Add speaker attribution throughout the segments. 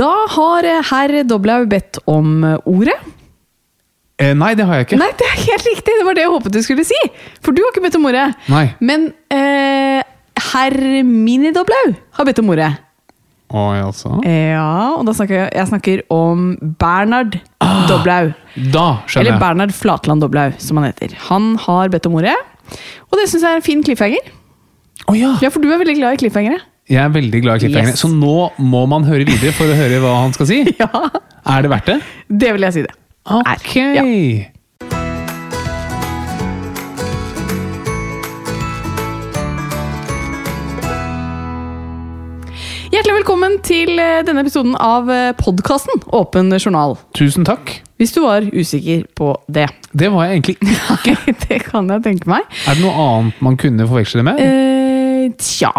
Speaker 1: Da har eh, herr Doblaug bedt om ordet.
Speaker 2: Eh, nei, det har jeg ikke.
Speaker 1: Nei, det er helt riktig! Det var det jeg håpet du skulle si! For du har ikke bedt om ordet.
Speaker 2: Nei.
Speaker 1: Men eh, herr Mini-Doblaug har bedt om ordet.
Speaker 2: Oi, altså.
Speaker 1: Eh, Ja, og da snakker jeg, jeg snakker om Bernhard Doblaug.
Speaker 2: Da skjønner
Speaker 1: Eller
Speaker 2: jeg.
Speaker 1: Bernhard Flatland Doblaug, som han heter. Han har bedt om ordet, og det syns jeg er en fin cliffhanger.
Speaker 2: Å ja.
Speaker 1: Ja, for du er veldig glad i cliffhangere.
Speaker 2: Jeg er veldig glad i cliffhangere.
Speaker 1: Yes.
Speaker 2: Så nå må man høre videre for å høre hva han skal si.
Speaker 1: Ja,
Speaker 2: Er det verdt det?
Speaker 1: det vil jeg si det. Er.
Speaker 2: Ok.
Speaker 1: Ja. Hjertelig velkommen til eh, denne episoden av eh, podkasten Åpen journal.
Speaker 2: Tusen takk.
Speaker 1: Hvis du var usikker på det.
Speaker 2: Det var jeg egentlig
Speaker 1: Nei, det kan jeg tenke meg.
Speaker 2: Er det noe annet man kunne forveksle det med?
Speaker 1: Eh, tja,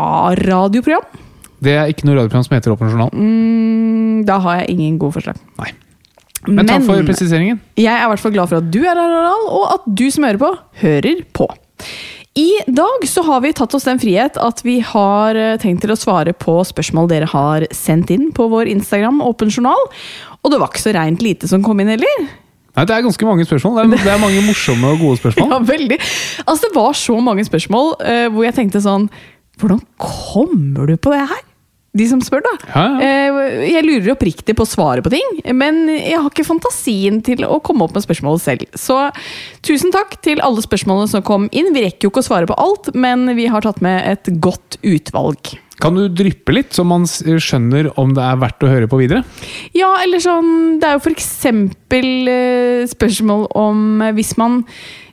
Speaker 1: radioprogram?
Speaker 2: Det er ikke noe radioprogram som heter Åpen journal.
Speaker 1: Mm, da har jeg ingen gode forslag.
Speaker 2: Nei. Men takk for presiseringen.
Speaker 1: Jeg er i hvert fall glad for at du er her, Harald, og at du som hører på, hører på. I dag så har vi tatt oss den frihet at vi har eh, tenkt til å svare på spørsmål dere har sendt inn på vår Instagram, Åpen journal. Og det var ikke så reint lite som kom inn heller.
Speaker 2: Nei, Det er ganske mange spørsmål. Det er, det er mange morsomme og gode spørsmål.
Speaker 1: Ja, veldig. Altså, det var så mange spørsmål eh, hvor jeg tenkte sånn Hvordan kommer du på det her? De som spør, da.
Speaker 2: Ja,
Speaker 1: Eh, Jeg lurer oppriktig på svaret på ting, men jeg har ikke fantasien til å komme opp med spørsmålet selv. Så tusen takk til alle spørsmålene som kom inn. Vi rekker jo ikke å svare på alt, men vi har tatt med et godt utvalg.
Speaker 2: Kan du dryppe litt, så man s- eh, skjønner om det er verdt å høre på videre?
Speaker 1: Ja, eller sånn Det er jo for eksempel eh, spørsmål om eh, hvis man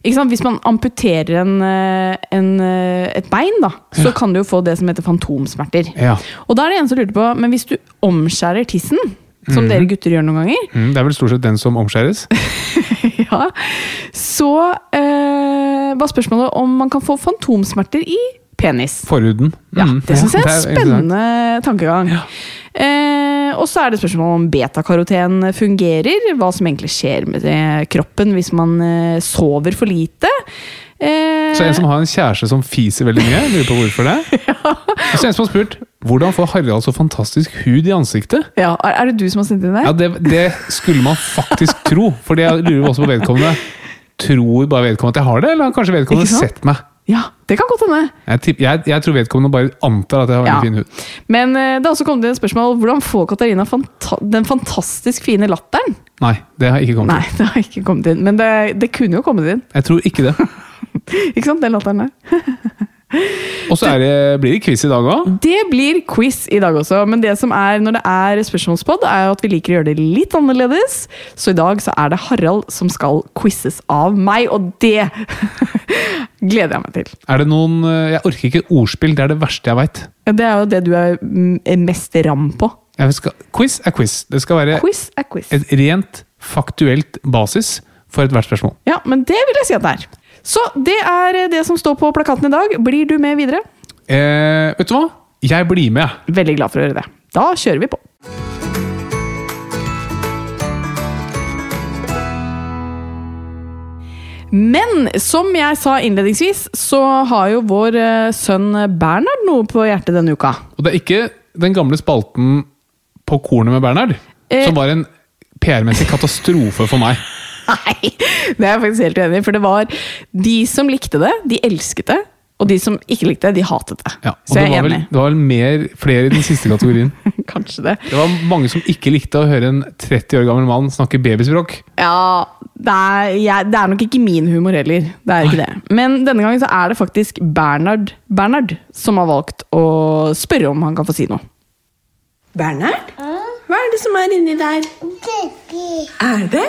Speaker 1: ikke sant? Hvis man amputerer en, eh, en, eh, et bein, da, så kan du jo få det som heter fantomsmerter.
Speaker 2: Ja.
Speaker 1: Og da er det en som lurte på Men hvis du omskjærer tissen, som dere gutter gjør noen ganger,
Speaker 2: Mm, det er vel stort sett den som omskjæres.
Speaker 1: ja, så eh, var spørsmålet om man kan få fantomsmerter i penis.
Speaker 2: Forhuden.
Speaker 1: Ja,
Speaker 2: Mm,
Speaker 1: Det syns jeg er en
Speaker 2: det interessant.
Speaker 1: spennende tankegang. Eh, og så er det spørsmål om betakaroten fungerer. Hva som egentlig skjer med eh, kroppen hvis man eh, sover for lite. Eh,
Speaker 2: Så en som har en kjæreste som fiser veldig mye, lurer på hvorfor det. Og så en som har spurt hvordan får Harald så fantastisk hud i ansiktet?
Speaker 1: ja, er, er det du som har sendt inn det?
Speaker 2: Ja, det, det skulle man faktisk tro, for jeg lurer også på vedkommende. Tror bare vedkommende at jeg har det, eller har kanskje vedkommende
Speaker 1: Ikke sant?
Speaker 2: sett meg?
Speaker 1: Ja, det kan godt hende.
Speaker 2: Jeg, tipp- jeg, jeg tror vedkommende bare antar at jeg har veldig
Speaker 1: Ja.
Speaker 2: fin hud.
Speaker 1: Men eh, det har også kommet inn et spørsmål hvordan får Katarina fanta den fantastisk fine latteren?
Speaker 2: Nei, det har jeg ikke kommet
Speaker 1: Nei, det har ikke kommet inn. Men det, det kunne jo kommet inn.
Speaker 2: til. Jeg tror ikke det.
Speaker 1: Ikke sant, den latteren der?
Speaker 2: Og så er det- blir det quiz i dag òg.
Speaker 1: Det blir quiz i dag også, men det som er når det er spørsmålspod, er jo at vi liker å gjøre det litt annerledes. Så i dag så er det Harald som skal quizzes av meg, og det gleder jeg meg til.
Speaker 2: Er det noen eh, Jeg orker ikke ordspill, det er det verste jeg veit.
Speaker 1: Det er jo det du er mm, mest ram på.
Speaker 2: Quiz er quiz. Det skal være
Speaker 1: Quiz er quiz.
Speaker 2: et rent faktuelt basis for ethvert spørsmål.
Speaker 1: Ja, men det vil jeg si at det er. Så det er det som står på plakaten i dag. Blir du med videre?
Speaker 2: Eh, vet du hva? Jeg blir med, jeg.
Speaker 1: Veldig glad for å høre det. Da kjører vi på. Men som jeg sa innledningsvis, så har jo vår eh, sønn Bernhard noe på hjertet denne uka.
Speaker 2: Og det er ikke den gamle spalten på kornet med Bernhard
Speaker 1: Eh.
Speaker 2: som var en PR-messig katastrofe for meg.
Speaker 1: Nei, det er jeg faktisk helt uenig i. For det var de som likte det, de elsket det. Og de som ikke likte det, de hatet det.
Speaker 2: Ja, og
Speaker 1: så
Speaker 2: det
Speaker 1: jeg
Speaker 2: var,
Speaker 1: er
Speaker 2: vel,
Speaker 1: enig.
Speaker 2: det var vel mer, flere i den siste kategorien.
Speaker 1: Kanskje det.
Speaker 2: Det var mange som ikke likte å høre en 30 år gammel mann snakke babyspråk.
Speaker 1: Ja, det er, jeg, det er nok ikke min humor heller. Det er ikke det. Men denne gangen så er det faktisk Bernhard, Bernhard som har valgt å spørre om han kan få si noe.
Speaker 3: Bernhard? Hva er det som er inni der?
Speaker 4: Baby,
Speaker 3: Er det?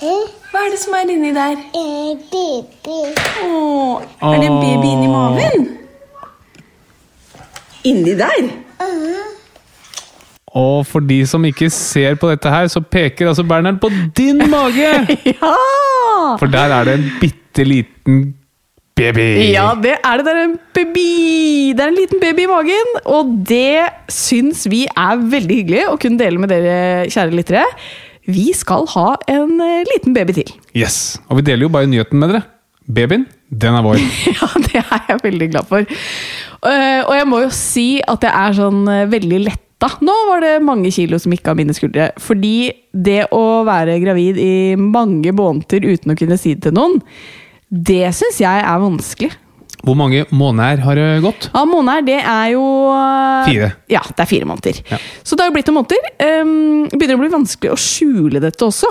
Speaker 4: eh,
Speaker 3: Hva er det som er inni der?
Speaker 4: eh, baby,
Speaker 3: Åh, er det en baby inni maven? Inni der?
Speaker 2: Og for de som ikke ser på dette her, så peker altså Bernhard på din mage!
Speaker 1: Ja!
Speaker 2: For der er det en bitte liten baby.
Speaker 1: Ja, det er det. Det er en baby! Det er en liten baby i magen, og det syns vi er veldig hyggelig å kunne dele med dere, kjære lyttere. Vi skal ha en eh, liten baby til.
Speaker 2: Yes. Og vi deler jo bare nyheten med dere. Babyen, den er vår.
Speaker 1: Ja, det er jeg veldig glad for. Eh, og jeg må jo si at jeg er sånn eh, veldig letta Da, nå var det mange kilo som gikk av mine skuldre. Fordi det å være gravid i mange måneder uten å kunne si det til noen, det syns jeg er vanskelig.
Speaker 2: Hvor mange måneder har det gått?
Speaker 1: Ja, måneder, det er jo eh,
Speaker 2: Fire.
Speaker 1: Ja, det er fire måneder.
Speaker 2: Ja.
Speaker 1: Så det har jo blitt noen måneder. Ehm, begynner å bli vanskelig å skjule dette også.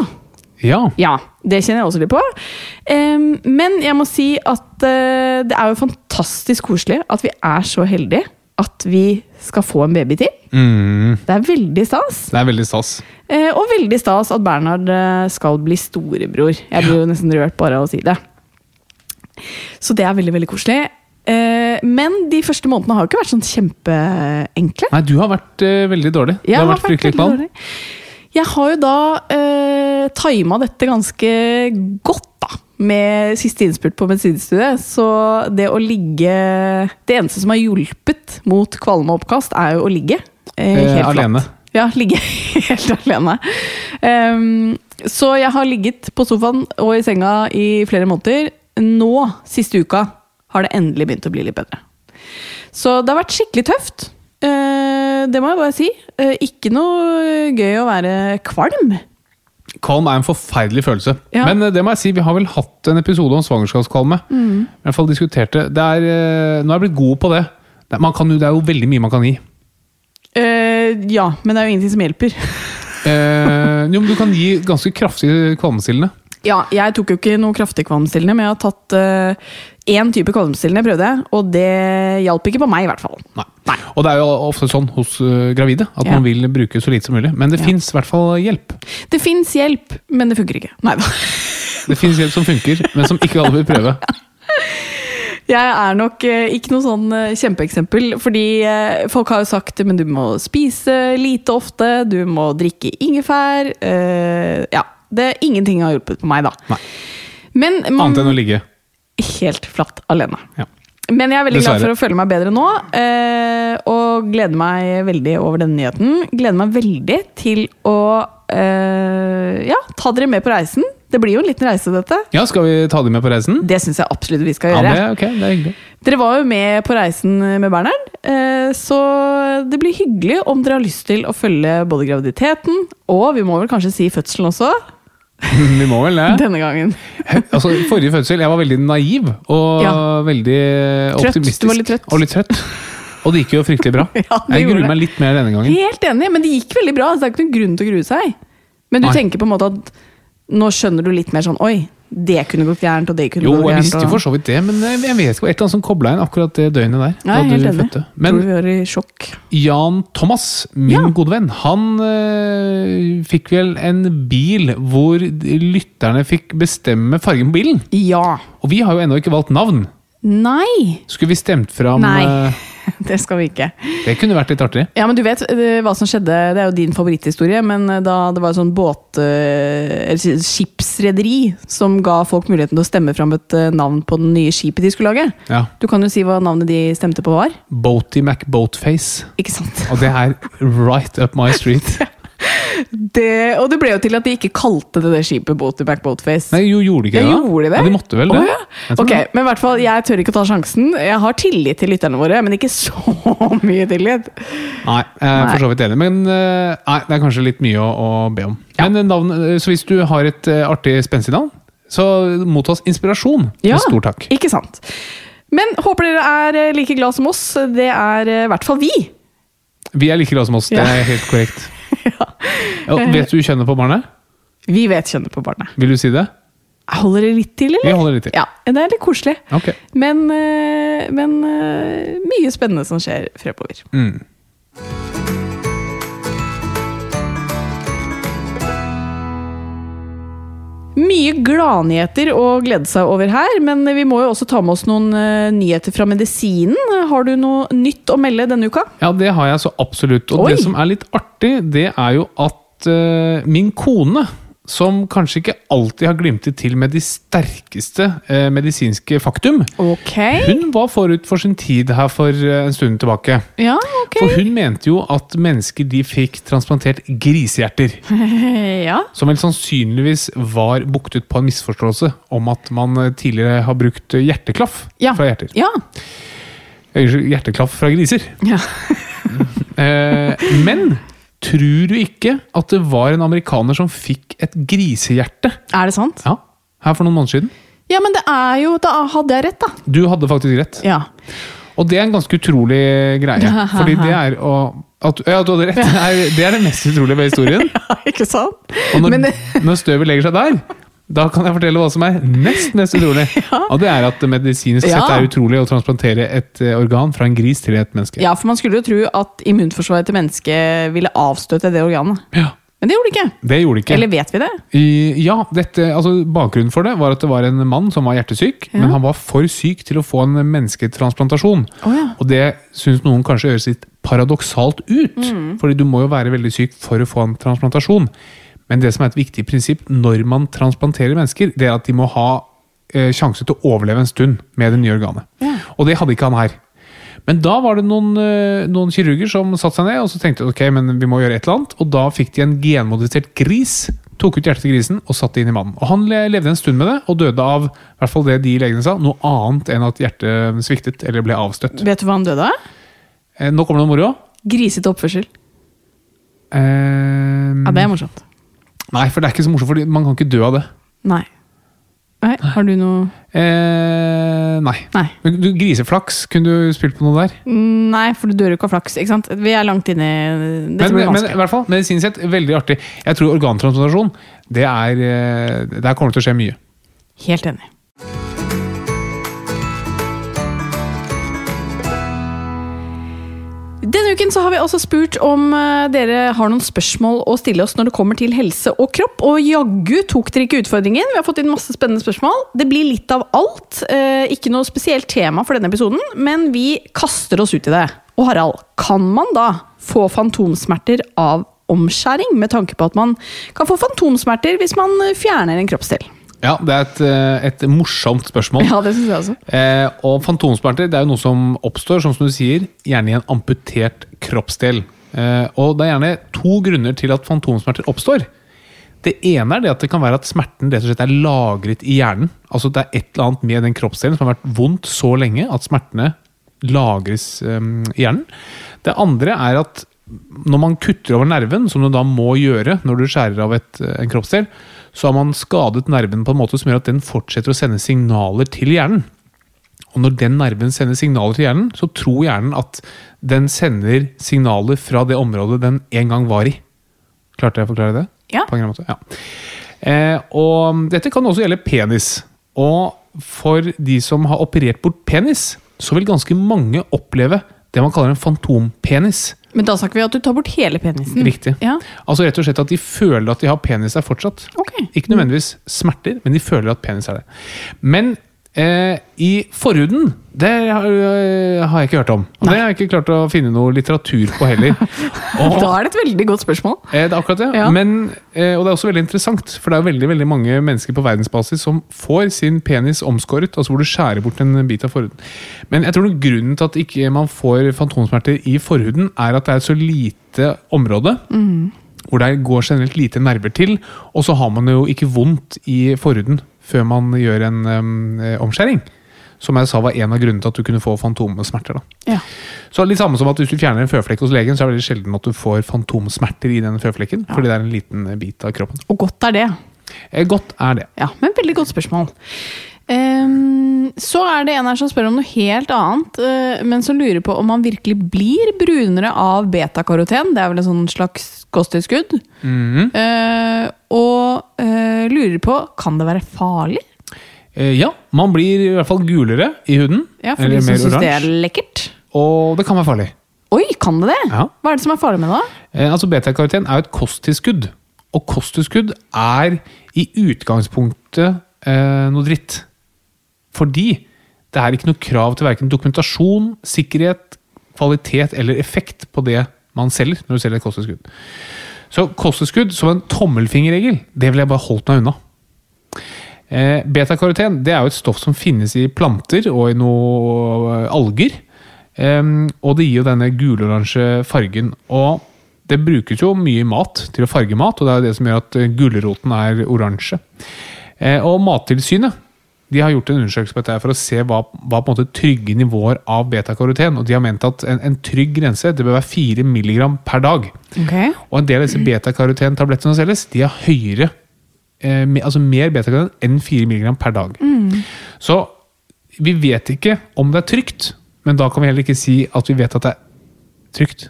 Speaker 2: Ja.
Speaker 1: Ja, det kjenner jeg også litt på. Ehm, men jeg må si at eh, det er jo fantastisk koselig at vi er så heldige at vi skal få en baby til.
Speaker 2: Mm,
Speaker 1: Det er veldig stas.
Speaker 2: det er veldig stas.
Speaker 1: Eh, og veldig stas at Bernhard eh, skal bli storebror. Jeg blir jo nesten rørt bare av å si det. Så det er veldig, veldig koselig. Eh, men de første månedene har jo ikke vært sånn kjempeenkle.
Speaker 2: Nei, du har vært eh, veldig dårlig. Du
Speaker 1: Jeg
Speaker 2: har vært fryktelig
Speaker 1: veldig
Speaker 2: kvalm.
Speaker 1: dårlig. Jeg har jo da eh, tima dette ganske godt, da. Med siste innspurt på medisinstudiet. Så det å ligge Det eneste som har hjulpet mot kvalme og oppkast, er jo å ligge. eh,
Speaker 2: Eh,
Speaker 1: helt flatt.
Speaker 2: alene.
Speaker 1: Ja, ligge helt alene. Ehm, så jeg har ligget på sofaen og i senga i flere måneder. Nå, siste uka, har det endelig begynt å bli litt bedre. Så det har vært skikkelig tøft. Eh, det må jeg bare si. Eh, ikke noe gøy å være kvalm.
Speaker 2: Kvalm er en forferdelig følelse.
Speaker 1: Ja.
Speaker 2: Men eh, det må jeg si, vi har vel hatt en episode om svangerskapskvalme.
Speaker 1: Mm.
Speaker 2: I hvert fall diskutert det. det er, eh, nå er jeg blitt god på det. Det, man kan, jo- det er jo veldig mye man kan gi.
Speaker 1: Eh, ja, men det er jo ingenting som hjelper.
Speaker 2: Eh, jo, men du kan gi ganske kraftig kvalmestillende.
Speaker 1: Ja, jeg tok jo ikke noe kraftig kvalmstillende, men jeg har tatt eh, én type kvalmstillende, prøvde jeg, og det hjalp ikke på meg, i hvert fall.
Speaker 2: Nei. Og det er jo ofte sånn hos eh, gravide at
Speaker 1: Ja.
Speaker 2: man vil bruke så lite som mulig. Men det
Speaker 1: Ja.
Speaker 2: finnes fins i hvert fall hjelp.
Speaker 1: Det fins hjelp, men det funker ikke. Nei da.
Speaker 2: Det fins hjelp som funker, men som ikke alle vil prøve.
Speaker 1: Jeg er nok eh, ikke noe sånn eh, kjempeeksempel, fordi eh, folk har jo sagt men du må spise lite ofte, du må drikke ingefær eh, Ja. Det, ingenting har hjulpet på meg, da.
Speaker 2: Nei.
Speaker 1: Men man
Speaker 2: Annet enn å ligge.
Speaker 1: Helt flatt alene.
Speaker 2: Ja.
Speaker 1: Men jeg er veldig glad
Speaker 2: Dessverre.
Speaker 1: for å føle meg bedre nå, eh, og gleder meg veldig over denne nyheten. Gleder meg veldig til å eh, ja, ta dere med på reisen. Det blir jo en liten reise, dette.
Speaker 2: ja, skal vi ta dem med på reisen?
Speaker 1: Det syns jeg absolutt vi skal
Speaker 2: Ja,
Speaker 1: gjøre.
Speaker 2: det, ok, det er hyggelig.
Speaker 1: Dere var jo med på reisen med Bernhard, eh, så det blir hyggelig om dere har lyst til å følge både graviditeten og vi må vel kanskje si fødselen også,
Speaker 2: Vi må vel det.
Speaker 1: denne gangen.
Speaker 2: Altså, forrige fødsel, jeg var veldig naiv og
Speaker 1: Ja.
Speaker 2: veldig
Speaker 1: Trøtt.
Speaker 2: optimistisk.
Speaker 1: Du var litt trøtt.
Speaker 2: Og litt trøtt. Og det gikk jo fryktelig bra.
Speaker 1: Ja, det
Speaker 2: jeg
Speaker 1: gjorde
Speaker 2: gruer
Speaker 1: det.
Speaker 2: meg litt mer denne gangen.
Speaker 1: Helt enig, men det gikk veldig bra, så det er ikke noen grunn til å grue seg. Men du
Speaker 2: Nei.
Speaker 1: tenker på en måte at nå skjønner du litt mer sånn oi, det kunne gått gærent, og det kunne
Speaker 2: Jo,
Speaker 1: gått
Speaker 2: jeg
Speaker 1: gærent.
Speaker 2: visste jo
Speaker 1: og-
Speaker 2: for så vidt det, men eh, jeg vet ikke, det var et eller annet som kobla inn akkurat det døgnet der.
Speaker 1: Nei,
Speaker 2: da
Speaker 1: helt
Speaker 2: du
Speaker 1: enig.
Speaker 2: fødte. Men
Speaker 1: Tror vi var i sjokk.
Speaker 2: Jan Thomas, min
Speaker 1: Ja.
Speaker 2: gode venn, han eh, fikk vel en bil hvor de- lytterne fikk bestemme fargen på bilen.
Speaker 1: Ja.
Speaker 2: Og vi har jo ennå ikke valgt navn.
Speaker 1: Nei!
Speaker 2: Skulle vi stemt fram
Speaker 1: Nei.
Speaker 2: eh,
Speaker 1: Det skal vi ikke.
Speaker 2: Det kunne vært litt artig.
Speaker 1: Ja, men du vet eh, hva som skjedde, det er jo din favoritthistorie, men eh, da det var sånn båt... eh, eller si- skipsrederi som ga folk muligheten til å stemme fram et eh, navn på den nye skipet de skulle lage.
Speaker 2: Ja.
Speaker 1: Du kan jo si hva navnet de stemte på var,
Speaker 2: Boaty McBoatface.
Speaker 1: ikke sant?
Speaker 2: Og det er right up my street.
Speaker 1: Det, og det ble jo til at de ikke kalte det det skipet Boat to Back Boatface.
Speaker 2: Nei, jo, gjorde de ikke
Speaker 1: Ja,
Speaker 2: det? da?
Speaker 1: gjorde de det?
Speaker 2: Ja, de måtte vel det?
Speaker 1: Å, ja.
Speaker 2: Jeg tror
Speaker 1: Ok,
Speaker 2: det.
Speaker 1: men i hvert fall, jeg tør ikke å ta sjansen. Jeg har tillit til lytterne våre, men ikke så mye tillit.
Speaker 2: Nei, jeg er for så vidt enig, men eh, nei, det er kanskje litt mye å, å be om. Men navn, eh, så hvis du har et eh, artig spenstig navn, så mottas inspirasjon. Med stor takk.
Speaker 1: Ikke sant. Men håper dere er eh, like glad som oss. Det er eh, i hvert fall vi.
Speaker 2: Vi er like glade som oss, det
Speaker 1: Ja.
Speaker 2: er helt korrekt. ja. Vet du kjønnet på barnet?
Speaker 1: Vi vet kjønnet på barnet.
Speaker 2: Vil du si det?
Speaker 1: Holder dere litt til, eller?
Speaker 2: Vi holder litt til.
Speaker 1: Ja, Det er litt koselig.
Speaker 2: Ok.
Speaker 1: Men, eh, men eh, mye spennende som skjer fremover.
Speaker 2: Mm.
Speaker 1: Mye gladnyheter å glede seg over her, men vi må jo også ta med oss noen eh, nyheter fra medisinen. Har du noe nytt å melde denne uka?
Speaker 2: Ja, det har jeg så absolutt. Og
Speaker 1: Oi!
Speaker 2: det som er litt artig, det er jo at eh, min kone, som kanskje ikke alltid har glimtet til med de sterkeste eh, medisinske faktum,
Speaker 1: Ok.
Speaker 2: hun var forut for sin tid her for eh, en stund tilbake.
Speaker 1: Ja, ok.
Speaker 2: For hun mente jo at mennesker de fikk transplantert grishjerter,
Speaker 1: Ja.
Speaker 2: som vel sannsynligvis var buktet på en misforståelse om at man eh, tidligere har brukt hjerteklaff
Speaker 1: Ja.
Speaker 2: fra hjerter.
Speaker 1: Ja.
Speaker 2: Eh, Hjerteklaff fra griser.
Speaker 1: ja.
Speaker 2: Eh, men tror du ikke at det var en amerikaner som fikk et grisehjerte?
Speaker 1: Er det sant?
Speaker 2: Ja, her for noen måneder siden.
Speaker 1: Ja, men det er jo Da hadde jeg rett, da.
Speaker 2: Du hadde faktisk rett.
Speaker 1: Ja.
Speaker 2: Og det er en ganske utrolig greie. Fordi det er å at, Ja, du hadde rett! Det er, det er det mest utrolige ved historien.
Speaker 1: ikke sant?
Speaker 2: Og når,
Speaker 1: Men, eh,
Speaker 2: når støvet legger seg der, da kan jeg fortelle hva som er nest mest utrolig. Og det er at det medisinsk sett
Speaker 1: Ja.
Speaker 2: er utrolig å transplantere et eh, organ fra en gris til et menneske.
Speaker 1: ja, for man skulle jo tro at immunforsvaret til mennesket ville avstøte det organet.
Speaker 2: Ja,
Speaker 1: Men det gjorde det ikke.
Speaker 2: Det gjorde det ikke.
Speaker 1: Eller vet vi det?
Speaker 2: I- ja, dette, altså Bakgrunnen for det var at det var en mann som var hjertesyk, men han var for syk til å få en mennesketransplantasjon.
Speaker 1: Å ja.
Speaker 2: Og det syns noen kanskje høres litt paradoksalt ut, fordi du må jo være veldig syk for å få en transplantasjon. Men det som er et viktig prinsipp når man transplanterer mennesker, det er at de må ha eh, sjanse til å overleve en stund med det nye organet.
Speaker 1: Ja.
Speaker 2: Og det hadde ikke han her. Men da var det noen, eh, noen kirurger som satte seg ned og så tenkte de, ok, men vi må gjøre et eller annet. Og da fikk de en genmodifisert gris, tok ut hjertet til grisen og satte det inn i mannen. Og han le- levde en stund med det og døde av i hvert fall det de legene sa, noe annet enn at hjertet sviktet eller ble avstøtt.
Speaker 1: Vet du hva han døde av?
Speaker 2: Eh, Nå kommer det noe moro.
Speaker 1: Grisete oppførsel.
Speaker 2: Eh,
Speaker 1: Ja, det er morsomt.
Speaker 2: Nei, for det er ikke så morsomt, for man kan ikke dø av det.
Speaker 1: Nei. Nei, Har du noe
Speaker 2: Eh, nei.
Speaker 1: Nei.
Speaker 2: Men du, griseflaks, kunne du spilt på noe der?
Speaker 1: Mm, Nei, for du dør jo ikke av flaks. ikke sant? Vi er langt inne i- Dette
Speaker 2: Men,
Speaker 1: blir
Speaker 2: men, men i
Speaker 1: vanskelig.
Speaker 2: hvert fall, medisinsk sett, veldig artig. Jeg tror organtransplantasjon, det er eh, Der kommer det til å skje mye.
Speaker 1: Helt enig. Denne uken så har vi også spurt om eh, dere har noen spørsmål å stille oss når det kommer til helse og kropp, og jaggu tok dere ikke utfordringen. Vi har fått inn masse spennende spørsmål. Det blir litt av alt. eh, Ikke noe spesielt tema for denne episoden, men vi kaster oss ut i det. Og Harald, kan man da få fantomsmerter av omskjæring, med tanke på at man kan få fantomsmerter hvis man eh, fjerner en kroppsdel?
Speaker 2: Ja, det er et, eh, et morsomt spørsmål.
Speaker 1: Ja, det syns jeg også.
Speaker 2: Eh, og fantomsmerter det er jo noe som oppstår, som du sier, gjerne i en amputert kroppsdel. Eh, og det er gjerne to grunner til at fantomsmerter oppstår. Det ene er det at det kan være at smerten rett og slett er lagret i hjernen. Altså Det er et eller annet med den kroppsdelen som har vært vondt så lenge at smertene lagres um, i hjernen. Det andre er at når man kutter over nerven, som du da må gjøre når du skjærer av et, en kroppsdel, så har man skadet nerven på en måte som gjør at den fortsetter å sende signaler til hjernen. Og når den nerven sender signaler til hjernen, så tror hjernen at den sender signaler fra det området den en gang var i. Klarte jeg å forklare det?
Speaker 1: Ja.
Speaker 2: På en eller annen måte, ja. Eh, og dette kan også gjelde penis. Og for de som har operert bort penis, så vil ganske mange oppleve det man kaller en fantompenis.
Speaker 1: Men da snakker vi at du tar bort hele penisen.
Speaker 2: Riktig.
Speaker 1: Ja,
Speaker 2: Altså rett og slett at de føler at de har penis der fortsatt.
Speaker 1: ok.
Speaker 2: Ikke nødvendigvis smerter, men de føler at penis er det. Men eh, i forhuden, det har, øh, har jeg ikke hørt om. Og det har jeg ikke klart å finne noe litteratur på heller. Og,
Speaker 1: Da er det et veldig godt spørsmål.
Speaker 2: eh, det er akkurat det.
Speaker 1: Ja.
Speaker 2: Men, eh, og det er også veldig interessant, for det er veldig, veldig mange mennesker på verdensbasis som får sin penis omskåret, altså hvor du skjærer bort en bit av forhuden. Men jeg tror nok grunnen til at ikke man får fantomsmerter i forhuden, er at det er et så lite område hvor det går generelt lite nerver til, og så har man jo ikke vondt i forhuden før man gjør en øhm, eh, omskjæring. Som jeg sa var en av grunnene til at du kunne få fantomsmerter. da.
Speaker 1: Ja.
Speaker 2: Så litt samme som at Hvis du fjerner en føflekk hos legen, så er det veldig sjelden at du får fantomsmerter i den føflekken. Fordi det er en liten eh, bit av kroppen.
Speaker 1: Og godt er det.
Speaker 2: Eh, Godt er det.
Speaker 1: Ja, men veldig godt spørsmål. Ehm, så er det en her som spør om noe helt annet, eh, men som lurer på om man virkelig blir brunere av betakaroten. Det er vel en sånn slags kosttilskudd.
Speaker 2: Mhm.
Speaker 1: Eh, og eh, lurer på kan det være farlig?
Speaker 2: Eh, Ja, man blir i hvert fall gulere i huden.
Speaker 1: Ja, For
Speaker 2: eller
Speaker 1: de som
Speaker 2: mer
Speaker 1: syns det er
Speaker 2: oransje.
Speaker 1: lekkert.
Speaker 2: Og det kan være farlig.
Speaker 1: Oi, kan det det?
Speaker 2: Ja.
Speaker 1: Hva er det som er farlig med det? da?
Speaker 2: Eh, Altså Beta-karoten er jo et kosttilskudd. Og kosttilskudd er i utgangspunktet eh, noe dritt. Fordi det er ikke noe krav til verken dokumentasjon, sikkerhet, kvalitet eller effekt på det man selger når du selger et kosttilskudd. Så kosttilskudd som en tommelfingerregel, det ville jeg bare holdt meg unna. Eh, Betakaroten det er jo et stoff som finnes i planter og i noe eh, alger. Em, og det gir jo denne guloransje fargen. Og det brukes jo mye i mat til å farge mat, og det er jo det som gjør at eh, gulroten er oransje. Eh, og Mattilsynet De har gjort en undersøkelse på dette her for å se hva, hva på en måte trygge nivåer av betakaroten. Og de har ment at en, en trygg grense det bør være 4 mg per dag.
Speaker 1: Ok.
Speaker 2: Og en del av disse betakaroten-tablettene som selges, de har høyere eh, me- altså mer betakaroten enn 4 mg per dag.
Speaker 1: Mm.
Speaker 2: Så vi vet ikke om det er trygt, men da kan vi heller ikke si at vi vet at det er trygt.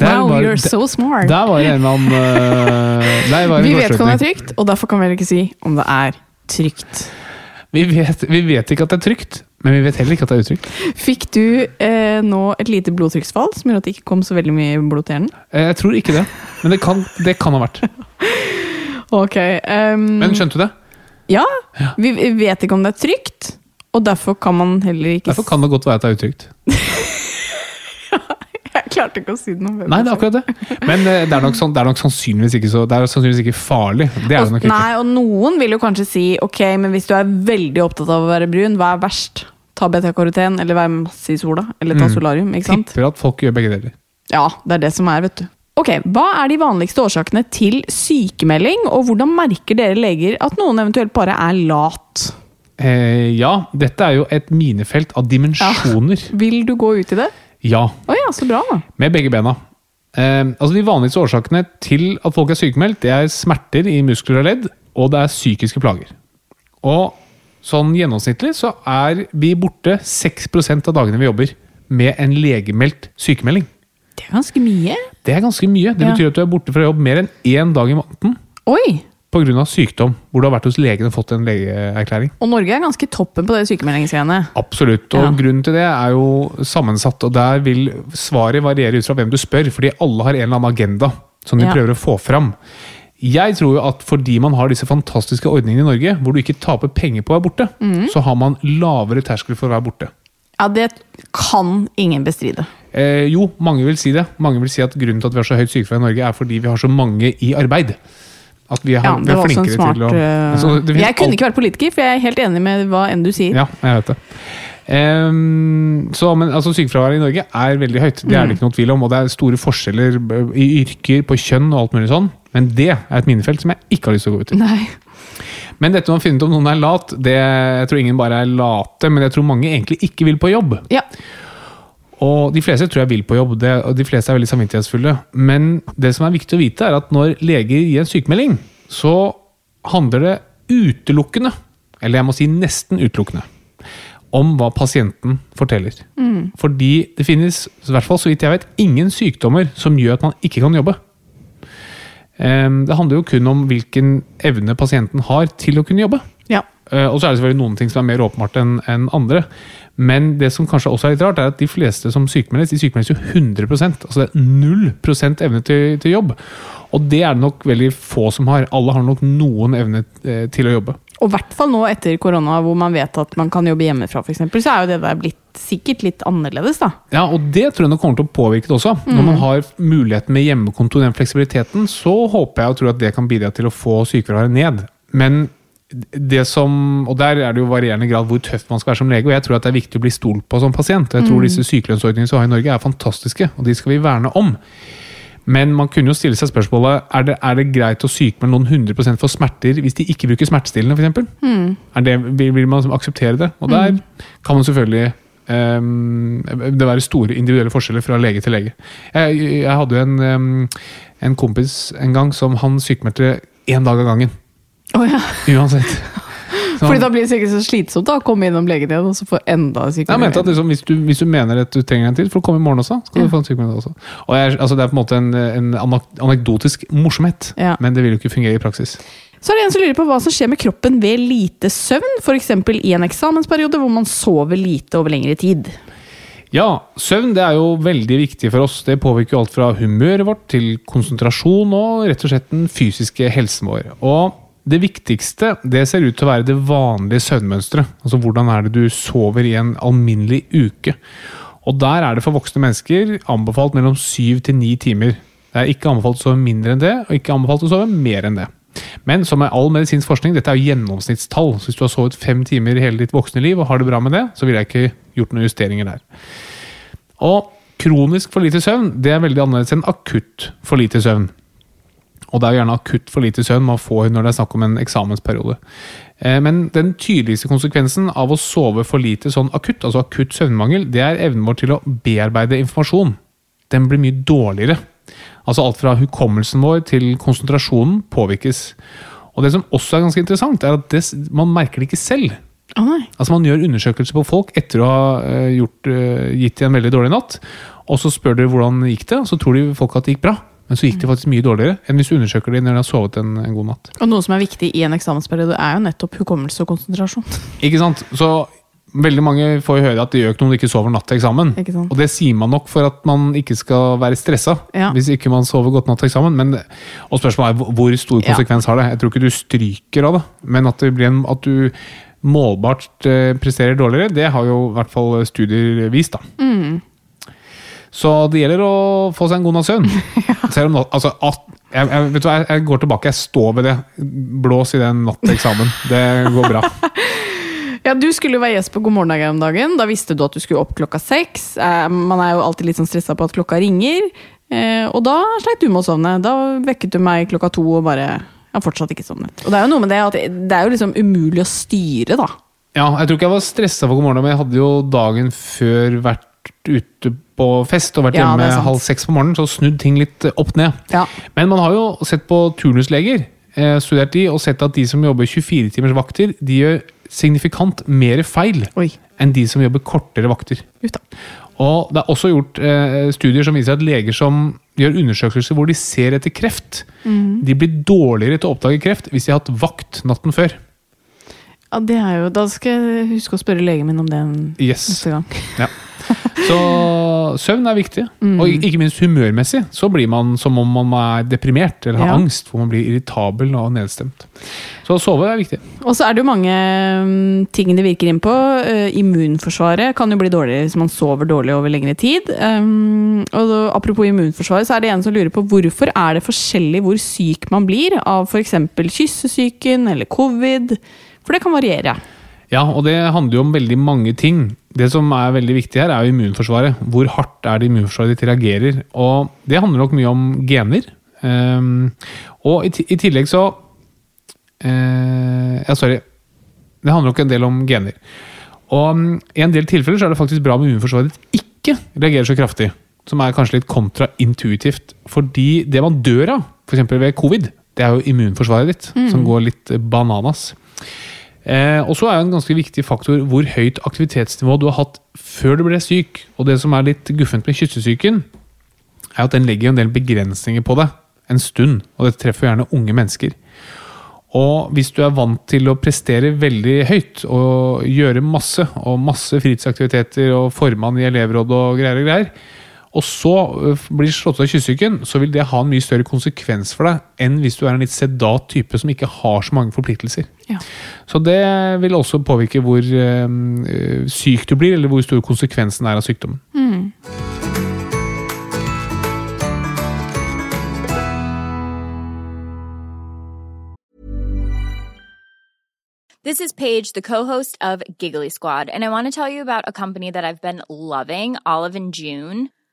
Speaker 2: Der
Speaker 1: Wow,
Speaker 2: var-
Speaker 1: you're so smart.
Speaker 2: Der var det en eller annen eh, der var det en
Speaker 1: Vi vet ikke om det er
Speaker 2: kortslutning.
Speaker 1: trygt, og derfor kan vi heller ikke si om det er trygt.
Speaker 2: Vi vet, vi vet ikke at det er trygt, men vi vet heller ikke at det er utrygt.
Speaker 1: Fikk du eh, nå et lite blodtrykksfall som gjorde at det ikke kom så veldig mye blod til hjernen?
Speaker 2: Eh, Jeg tror ikke det, men det kan, det kan ha vært.
Speaker 1: Ok. ehm,
Speaker 2: Men skjønte du det?
Speaker 1: ja, vi vi vet ikke om det er trygt, og derfor kan man heller ikke
Speaker 2: Derfor kan det godt være at det er utrygt.
Speaker 1: s- Jeg klarte ikke å si det noe bedre.
Speaker 2: Nei, det er akkurat det. Men eh, det er nok, sånn, det er nok sannsynligvis, ikke så, det er sannsynligvis ikke farlig. Det er det nok
Speaker 1: Og,
Speaker 2: ikke.
Speaker 1: nei, og noen vil jo kanskje si ok, men hvis du er veldig opptatt av å være brun, hva er verst? Ta beta-karoten, eller være masse i sola, eller
Speaker 2: Mm.
Speaker 1: ta solarium, ikke sant?
Speaker 2: Tipper at folk gjør begge deler.
Speaker 1: Ja, det er det som er, vet du. Ok, Hva er de vanligste årsakene til sykemelding, og hvordan merker dere leger at noen eventuelt bare er lat?
Speaker 2: Eh, ja, dette er jo et minefelt av dimensjoner.
Speaker 1: Vil du gå ut i det?
Speaker 2: Ja,
Speaker 1: Å ja, så bra, da.
Speaker 2: med begge bena. Eh, altså De vanligste årsakene til at folk er sykemeldt, det er smerter i muskler og ledd, og det er psykiske plager. Og sånn gjennomsnittlig så er vi borte 6 av dagene vi jobber med en legemeldt sykemelding.
Speaker 1: Det er ganske mye.
Speaker 2: Det er ganske mye. Det
Speaker 1: Ja.
Speaker 2: betyr at du er borte fra jobb mer enn én dag i måneden.
Speaker 1: Oi!
Speaker 2: pga. sykdom, hvor du har vært hos legen og fått en legeerklæring.
Speaker 1: Og Norge er ganske toppen på det sykemeldingsgreiene.
Speaker 2: Absolutt, og
Speaker 1: Ja.
Speaker 2: Grunnen til det er jo sammensatt, og der vil svaret variere ut fra hvem du spør. Fordi alle har en eller annen agenda som de
Speaker 1: Ja.
Speaker 2: prøver å få fram. Jeg tror jo at fordi man har disse fantastiske ordningene i Norge, hvor du ikke taper penger på å være borte,
Speaker 1: Mhm.
Speaker 2: så har man lavere terskel for å være borte.
Speaker 1: Ja, det kan ingen bestride.
Speaker 2: Eh, jo, mange vil si det. Mange vil si at grunnen til at vi har så høyt sykefravær i Norge, er fordi vi har så mange i arbeid. At vi, har,
Speaker 1: Ja,
Speaker 2: vi
Speaker 1: det
Speaker 2: er
Speaker 1: var også en
Speaker 2: flinkere
Speaker 1: smart
Speaker 2: til å
Speaker 1: eh,
Speaker 2: Så det finnes
Speaker 1: Jeg kunne
Speaker 2: alt-
Speaker 1: ikke vært politiker, for jeg er helt enig med hva enn du sier.
Speaker 2: Ja, jeg vet det. Ehm, så, men altså, sykefraværet i Norge er veldig høyt, det er det ikke noe tvil om. Og det er store forskjeller b- i yrker, på kjønn og alt mulig sånn. Men det er et minefelt som jeg ikke har lyst til å gå ut i.
Speaker 1: Nei.
Speaker 2: Men dette med å finne ut om noen er lat, det jeg tror ingen bare er late, men jeg tror mange egentlig ikke vil på jobb.
Speaker 1: Ja.
Speaker 2: Og de fleste tror jeg vil på jobb, det, og de fleste er veldig samvittighetsfulle. Men det som er viktig å vite, er at når leger gir en sykemelding, så handler det utelukkende, eller jeg må si nesten utelukkende, om hva pasienten forteller. Fordi det finnes, i hvert fall så vidt jeg vet, ingen sykdommer som gjør at man ikke kan jobbe. Ehm, Det handler jo kun om hvilken evne pasienten har til å kunne jobbe.
Speaker 1: ja.
Speaker 2: Eh, Og så er det selvfølgelig noen ting som er mer åpenbart enn enn andre. Men det som kanskje også er litt rart, er at de fleste som sykemeldes, de sykemeldes jo 100 Altså det er 0 evne til, til jobb. Og det er det nok veldig få som har. Alle har nok noen evne eh, til å jobbe.
Speaker 1: Og i hvert fall nå etter korona, hvor man vet at man kan jobbe hjemmefra, for eksempel, så er jo det der blitt sikkert litt annerledes, da.
Speaker 2: Ja, og det tror jeg nok kommer til å påvirke det også. Når man har muligheten med hjemmekontor, den fleksibiliteten, så håper jeg og tror at det kan bidra til å få sykefraværet ned. Men det som, og der er det jo varierende grad hvor tøff man skal være som lege, og jeg tror at det er viktig å bli stolt på som pasient. Jeg tror disse sykelønnsordningene som vi har i Norge er fantastiske, og de skal vi verne om. Men man kunne jo stille seg spørsmålet er det, er det greit å sykmelde noen 100 for smerter hvis de ikke bruker smertestillende, f.eks. Mm. Vil, vil man akseptere det? Og der kan man selvfølgelig ehm, Det være store individuelle forskjeller fra lege til lege. Jeg, jeg hadde jo en, ehm, en kompis en gang som han sykmeldte én dag av gangen.
Speaker 1: Oh, ja.
Speaker 2: Uansett. Så
Speaker 1: Fordi da
Speaker 2: han-
Speaker 1: blir det sikkert så slitsomt da, å komme innom legen igjen og så få enda
Speaker 2: Nei, Jeg mente at
Speaker 1: sykmelding.
Speaker 2: liksom, hvis, du, hvis du mener at du trenger en til for å komme i morgen også, skal du få en sykemelding også. Og jeg, altså, det er på en måte en, en anak- anekdotisk morsomhet,
Speaker 1: Ja.
Speaker 2: men det vil jo ikke fungere i praksis.
Speaker 1: Så er det en som lurer på hva som skjer med kroppen ved lite søvn, f.eks. i en eksamensperiode hvor man sover lite over lengre tid.
Speaker 2: Ja, søvn det er jo veldig viktig for oss. Det påvirker jo alt fra humøret vårt til konsentrasjon og rett og slett den fysiske helsen vår. Og det viktigste det ser ut til å være det vanlige søvnmønsteret. Altså hvordan er det du sover i en alminnelig uke. Og der er det for voksne mennesker anbefalt mellom syv til ni timer. Det er ikke anbefalt å sove mindre enn det, og ikke anbefalt å sove mer enn det. Men som med all medisinsk forskning, dette er jo gjennomsnittstall. Så hvis du har sovet fem timer i hele ditt voksne liv og har det bra med det, så ville jeg ikke gjort noen justeringer der. Og kronisk for lite søvn det er veldig annerledes enn akutt for lite søvn. Og det er jo gjerne akutt for lite søvn man får når det er snakk om en eksamensperiode. Eh, Men den tydeligste konsekvensen av å sove for lite sånn akutt, altså akutt søvnmangel, det er evnen vår til å bearbeide informasjon. Den blir mye dårligere. Altså alt fra hukommelsen vår til konsentrasjonen påvirkes. Og det som også er ganske interessant, er at det, s- man merker det ikke selv.
Speaker 1: Å nei.
Speaker 2: Altså Man gjør undersøkelser på folk etter å ha eh, gjort, eh, gitt dem en veldig dårlig natt. Og så spør du hvordan gikk det, og så tror de folk at det gikk bra. Men så gikk det faktisk mye dårligere enn hvis du undersøker dem når de har sovet en, en god natt.
Speaker 1: Og noe som er viktig i en eksamensperiode, er jo nettopp hukommelse og konsentrasjon.
Speaker 2: Ikke sant? Så veldig mange får jo høre at det gjør ikke noe om du ikke sover natt til eksamen.
Speaker 1: Ikke sant.
Speaker 2: Og det sier man nok for at man ikke skal være stressa
Speaker 1: Ja.
Speaker 2: hvis ikke man sover godt natt til eksamen. Men, og spørsmålet er hvor- hvor stor
Speaker 1: Ja.
Speaker 2: konsekvens har det? Jeg tror ikke du stryker av det, men at, det blir en, at du målbart eh, presterer dårligere, det har jo i hvert fall studier vist, da.
Speaker 1: Mm.
Speaker 2: Så det gjelder å få seg en god natts søvn. Selv om natt, altså, at, jeg, jeg, vet du hva, jeg, jeg går tilbake, jeg står ved det. Blås i den natt til eksamen. Det går bra.
Speaker 1: Ja, Du skulle jo være gjest på God morgen Norge om dagen. Da visste du at du skulle opp klokka seks. Eh, Man er jo alltid litt sånn stressa på at klokka ringer. Eh, Og da sleit du med å sovne. Da vekket du meg klokka to og bare Jeg har fortsatt ikke sovnet. Og det er jo noe med det at det er jo liksom umulig å styre, da.
Speaker 2: Ja, jeg tror ikke jeg var stressa for God morgen, men jeg hadde jo dagen før vært ute på fest og vært
Speaker 1: Ja, det
Speaker 2: hjemme
Speaker 1: er sant.
Speaker 2: halv seks på morgenen, så snudd ting litt eh, opp ned.
Speaker 1: Ja.
Speaker 2: Men man har jo sett på turnusleger, eh, studert de, og sett at de som jobber 24 timers vakter, de gjør signifikant mer feil
Speaker 1: Oi.
Speaker 2: enn de som jobber kortere vakter.
Speaker 1: Uff da.
Speaker 2: Og det er også gjort eh, studier som viser at leger som gjør undersøkelser hvor de ser etter kreft,
Speaker 1: Mm.
Speaker 2: de blir dårligere til å oppdage kreft hvis de har hatt vakt natten før.
Speaker 1: Ja, det er jo, Da skal jeg huske å spørre legen min om det en-
Speaker 2: Yes.
Speaker 1: neste gang.
Speaker 2: Ja. Så søvn er viktig. Og ikke minst humørmessig så blir man som om man er deprimert eller har
Speaker 1: Ja.
Speaker 2: angst, hvor man blir irritabel og nedstemt. Så å sove er viktig.
Speaker 1: Og så er det jo mange mm, ting det virker inn på. Eh, immunforsvaret kan jo bli dårligere hvis man sover dårlig over lengre tid. Um, og da, apropos immunforsvaret, så er det en som lurer på hvorfor er det forskjellig hvor syk man blir av f.eks. kyssesyken eller covid? For det kan variere.
Speaker 2: Ja, og det handler jo om veldig mange ting. Det som er veldig viktig her, er jo immunforsvaret. Hvor hardt er det immunforsvaret ditt reagerer? Og det handler nok mye om gener. Ehm, og i, ti- i tillegg så eh, Ja, sorry. Det handler nok en del om gener. Og mm, i en del tilfeller så er det faktisk bra om immunforsvaret ditt ikke reagerer så kraftig. Som er kanskje litt kontraintuitivt. Fordi det man dør av, f.eks. ved covid, det er jo immunforsvaret ditt, som går litt bananas. Eh, og så er jo en ganske viktig faktor hvor høyt aktivitetsnivå du har hatt før du ble syk. Og det som er litt guffent med kyssesyken, er at den legger jo en del begrensninger på deg en stund. Og det treffer jo gjerne unge mennesker. Og hvis du er vant til å prestere veldig høyt og gjøre masse, og masse fritidsaktiviteter og formann i elevråd og greier og greier, og så ø, f- blir slått av kyssesyken, så vil det ha en mye større konsekvens for deg enn hvis du er en litt sedat type som ikke har så mange forpliktelser.
Speaker 1: Ja.
Speaker 2: Så det vil også påvirke hvor øhm, øh, syk du blir, eller hvor stor konsekvensen er av sykdommen.
Speaker 5: This is Paige, the co-host of Giggly Squad, and I want to tell you about a company that I've been loving, Olive and June.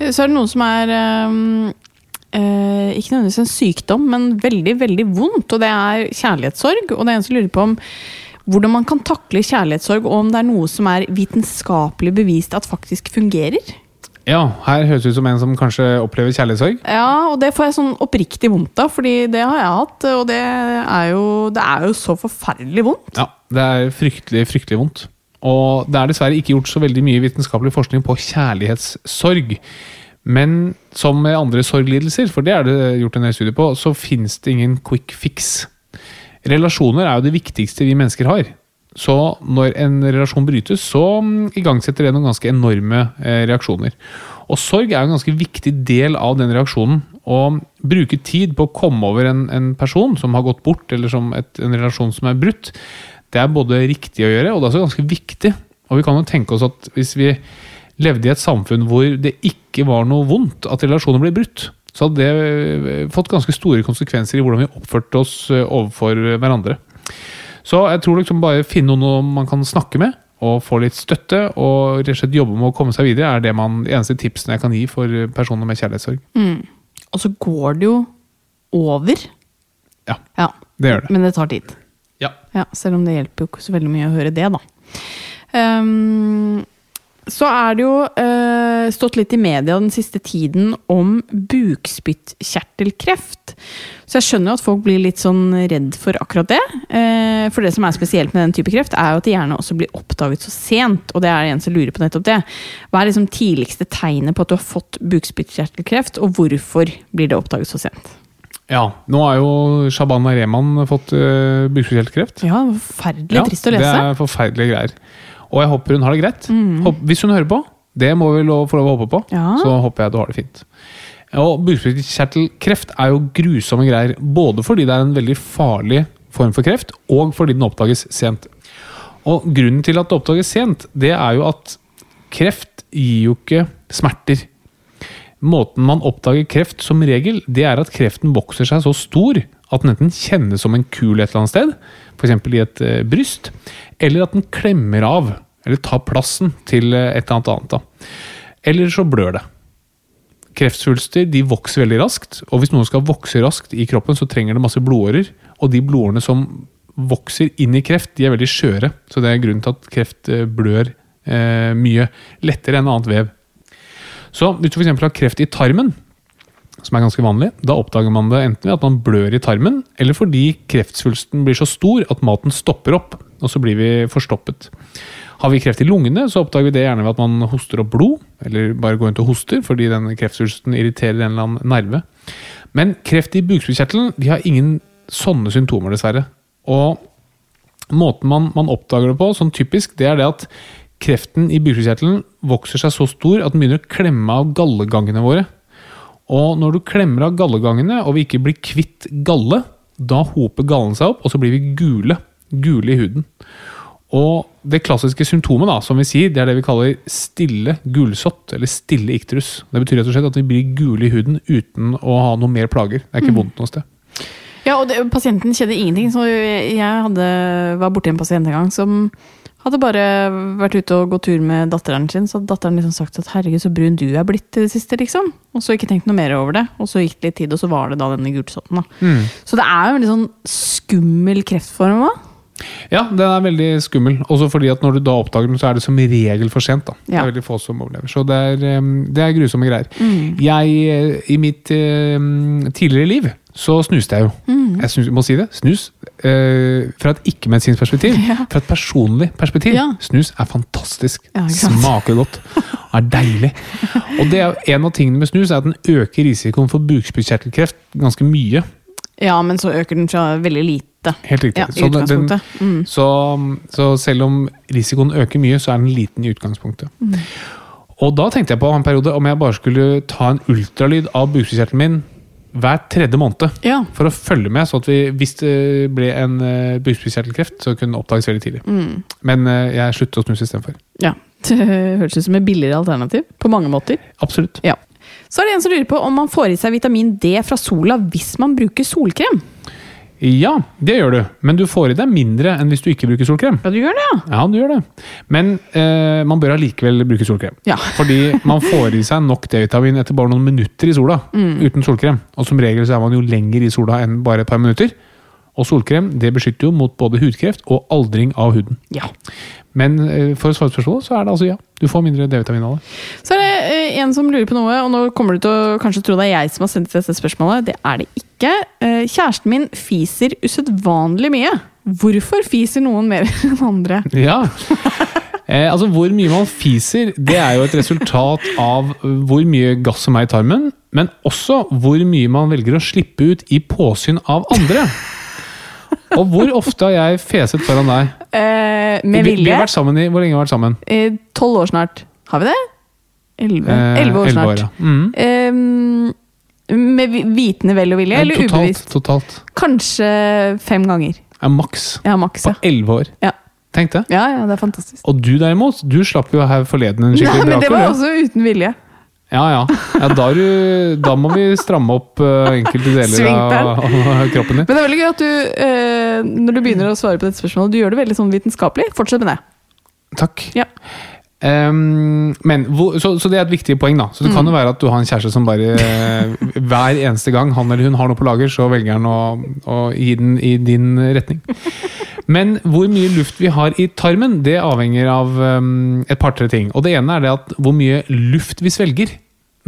Speaker 1: Eh, Så er det noen som er ehm, eh, ikke nødvendigvis en sykdom, men veldig, veldig vondt. Og det er kjærlighetssorg. Og det er en som lurer på om hvordan man kan takle kjærlighetssorg, og om det er noe som er vitenskapelig bevist at faktisk fungerer.
Speaker 2: Ja, her høres det ut som en som kanskje opplever kjærlighetssorg.
Speaker 1: Ja, og det får jeg sånn oppriktig vondt av, fordi det har jeg hatt. Og det er jo, det er jo så forferdelig vondt.
Speaker 2: Ja, det er fryktelig, fryktelig vondt. Og det er dessverre ikke gjort så veldig mye vitenskapelig forskning på kjærlighetssorg. Men som med andre sorglidelser, for det er det gjort en del studier på, så fins det ingen quick fix. Relasjoner er jo det viktigste vi mennesker har. Så når en relasjon brytes, så mm, igangsetter det noen ganske enorme eh, reaksjoner. Og sorg er jo en ganske viktig del av den reaksjonen. Å bruke tid på å komme over en, en person som har gått bort, eller som et, en relasjon som er brutt, det er både riktig å gjøre, og det er også ganske viktig. Og vi kan jo tenke oss at hvis vi levde i et samfunn hvor det ikke var noe vondt at relasjoner ble brutt, så hadde det eh, fått ganske store konsekvenser i hvordan vi oppførte oss eh, overfor hverandre. Så jeg tror liksom bare finne noen man kan snakke med, og få litt støtte, og rett og slett jobbe med å komme seg videre, er det man, de eneste tipsene jeg kan gi for eh, personer med kjærlighetssorg.
Speaker 1: Og så går det jo over.
Speaker 2: Ja,
Speaker 1: Ja,
Speaker 2: det gjør det.
Speaker 1: men det tar tid.
Speaker 2: Ja.
Speaker 1: Ja, selv om det hjelper jo ikke så veldig mye å høre det, da. Ehm, så er det jo eh, stått litt i media den siste tiden om bukspyttkjertelkreft. Så jeg skjønner jo at folk blir litt sånn redd for akkurat det. Eh, for det som er spesielt med den type kreft, er jo at det gjerne også blir oppdaget så sent. Og det er det en som lurer på nettopp det. Hva er liksom tidligste tegnet på at du har fått bukspyttkjertelkreft, og hvorfor blir det oppdaget så sent?
Speaker 2: Ja, nå har jo Shaban Rehman fått uh, bukspyttkjertelkreft.
Speaker 1: Ja, det var forferdelig trist å lese. Mm.
Speaker 2: Det er forferdelige greier. Og jeg håper hun har det greit. Håp, hvis hun hører på, det må vi lov, få lov å håpe på,
Speaker 1: Ja.
Speaker 2: så håper jeg du har det fint. Og bukspyttkjertelkreft er jo grusomme greier, både fordi det er en veldig farlig form for kreft, og fordi den oppdages sent. Og grunnen til at det oppdages sent, det er jo at kreft gir jo ikke smerter. Måten man oppdager kreft som regel, det er at kreften vokser seg så stor at den enten kjennes som en kul et eller annet sted, f.eks. i et eh, bryst, eller at den klemmer av, eller tar plassen til eh, et eller annet annet. Da. Eller så blør det. Kreftsvulster de vokser veldig raskt, og hvis noe skal vokse raskt i kroppen, så trenger det masse blodårer, og de blodårene som vokser inn i kreft, de er veldig skjøre, så det er grunnen til at kreft eh, blør eh, mye lettere enn annet vev. Så hvis du f.eks. har kreft i tarmen, som er ganske vanlig, da oppdager man det enten ved at man blør i tarmen, eller fordi kreftsvulsten blir så stor at maten stopper opp, og så blir vi forstoppet. Har vi kreft i lungene, så oppdager vi det gjerne ved at man hoster opp blod, eller bare går rundt og hoster fordi den kreftsvulsten irriterer en eller annen nerve. Men kreft i bukspyttkjertelen, vi har ingen sånne symptomer, dessverre. Og måten man, man oppdager det på, sånn typisk, det er det at kreften i bukspyttkjertelen vokser seg så stor at den begynner å klemme av gallegangene våre. Og når du klemmer av gallegangene, og vi ikke blir kvitt galle, da hoper gallen seg opp, og så blir vi gule. Gule i huden. Og det klassiske symptomet, da, som vi sier, det er det vi kaller stille gulsott, eller stille ikterus. Det betyr rett og slett at vi blir gule i huden uten å ha noe mer plager. Det er ikke vondt noe sted.
Speaker 1: Ja, og det, pasienten kjenner ingenting. Så jeg jeg hadde, var borti en pasient en gang som hadde bare vært ute og gått tur med datteren sin. Så hadde datteren liksom sagt at 'herregud, så brun du er blitt i det siste', liksom. Og så ikke tenkt noe mer over det. Og så gikk det litt tid, og så var det da denne gulsotten. da.
Speaker 2: Mm.
Speaker 1: Så det er jo en veldig sånn skummel kreftform òg.
Speaker 2: Ja, den er veldig skummel. Også fordi at når du da oppdager den, så er det som regel for sent. da. Det
Speaker 1: Ja.
Speaker 2: er veldig få som overlever. Så det er, em, det er grusomme greier.
Speaker 1: Mm.
Speaker 2: Jeg, eh, i mitt em, tidligere liv, så snuste jeg jo.
Speaker 1: Mm.
Speaker 2: Jeg snus, må si det. Snus. eh, fra et ikke-medisinsk perspektiv, fra et personlig perspektiv,
Speaker 1: Ja.
Speaker 2: snus er fantastisk.
Speaker 1: Ja, ikke sant?
Speaker 2: Smaker godt. Er deilig. Og det er jo en av tingene med snus er at den øker risikoen for bukspyttkjertelkreft ganske mye.
Speaker 1: Ja, men så øker den fra veldig lite.
Speaker 2: Helt riktig.
Speaker 1: Ja, i
Speaker 2: Så den- den-
Speaker 1: utgangspunktet. Mm.
Speaker 2: så, så selv om risikoen øker mye, så er den liten i utgangspunktet.
Speaker 1: Mm.
Speaker 2: Og da tenkte jeg på en periode om jeg bare skulle ta en ultralyd av bukspyttkjertelen min hver tredje måned.
Speaker 1: Ja.
Speaker 2: For å følge med, sånn at vi, hvis det ble en eh, bukspyttkjertelkreft, så kunne den oppdages veldig tidlig.
Speaker 1: Mm.
Speaker 2: Men eh, jeg sluttet å snuse istedenfor.
Speaker 1: ja. Det høres ut som et billigere alternativ. På mange måter.
Speaker 2: Absolutt.
Speaker 1: Ja. Så er det en som lurer på om man får i seg vitamin D fra sola hvis man bruker solkrem.
Speaker 2: Ja, det gjør du. Men du får i deg mindre enn hvis du ikke bruker solkrem.
Speaker 1: Ja, du gjør det, ja.
Speaker 2: Ja, du gjør det. Men eh, man bør allikevel bruke solkrem.
Speaker 1: Ja.
Speaker 2: Fordi man får i seg nok D-vitamin etter bare noen minutter i sola. Uten solkrem. Og som regel så er man jo lenger i sola enn bare et par minutter. Og solkrem det beskytter jo mot både hudkreft og aldring av huden.
Speaker 1: ja.
Speaker 2: Men eh, for å svare på spørsmålet, så er det altså ja. Du får mindre D-vitamin av det.
Speaker 1: Så er det eh, en som lurer på noe, og nå kommer du til å kanskje tro det er jeg som har sendt dette spørsmålet. Det er det ikke. Eh, Kjæresten min fiser usedvanlig mye. Hvorfor fiser noen mer enn andre?
Speaker 2: Ja. Eh, altså, Hvor mye man fiser, det er jo et resultat av hvor mye gass som er i tarmen, men også hvor mye man velger å slippe ut i påsyn av andre. Og hvor ofte har jeg feset foran deg?
Speaker 1: Eh, med
Speaker 2: Vi, vi
Speaker 1: vilje.
Speaker 2: har vært sammen i, Hvor lenge har vi vært sammen?
Speaker 1: Eh, Tolv år snart. Har vi det? Elleve
Speaker 2: Eh,
Speaker 1: Elleve år
Speaker 2: 11
Speaker 1: snart.
Speaker 2: ja. Mm.
Speaker 1: Eh, med vi- vitende vel og vilje, eller
Speaker 2: Eh, totalt,
Speaker 1: ubevisst.
Speaker 2: Totalt.
Speaker 1: Kanskje fem ganger.
Speaker 2: Ja, maks.
Speaker 1: Ja, maks.
Speaker 2: På
Speaker 1: Ja.
Speaker 2: 11 år.
Speaker 1: Ja.
Speaker 2: Tenk det.
Speaker 1: ja, ja, det er fantastisk.
Speaker 2: Og du derimot, du slapp jo her forleden en
Speaker 1: Nei,
Speaker 2: skikkelig
Speaker 1: men det
Speaker 2: braker.
Speaker 1: var
Speaker 2: du.
Speaker 1: også uten vilje.
Speaker 2: Ja, ja. ja da, er du, da må vi stramme opp eh, enkelte deler av, av kroppen din.
Speaker 1: Men det er veldig gøy at du, eh, når du begynner å svare på dette spørsmålet, du gjør det veldig sånn vitenskapelig. Fortsett med det.
Speaker 2: Takk.
Speaker 1: Ja.
Speaker 2: Ehm, men, hvor, så, så det er et viktig poeng, da. Så det kan jo være at du har en kjæreste som bare eh, hver eneste gang han eller hun har noe på lager, så velger han å, å gi den i din retning. Men hvor mye luft vi har i tarmen, det avhenger av ehm, et par-tre ting. Og det ene er det at hvor mye luft vi svelger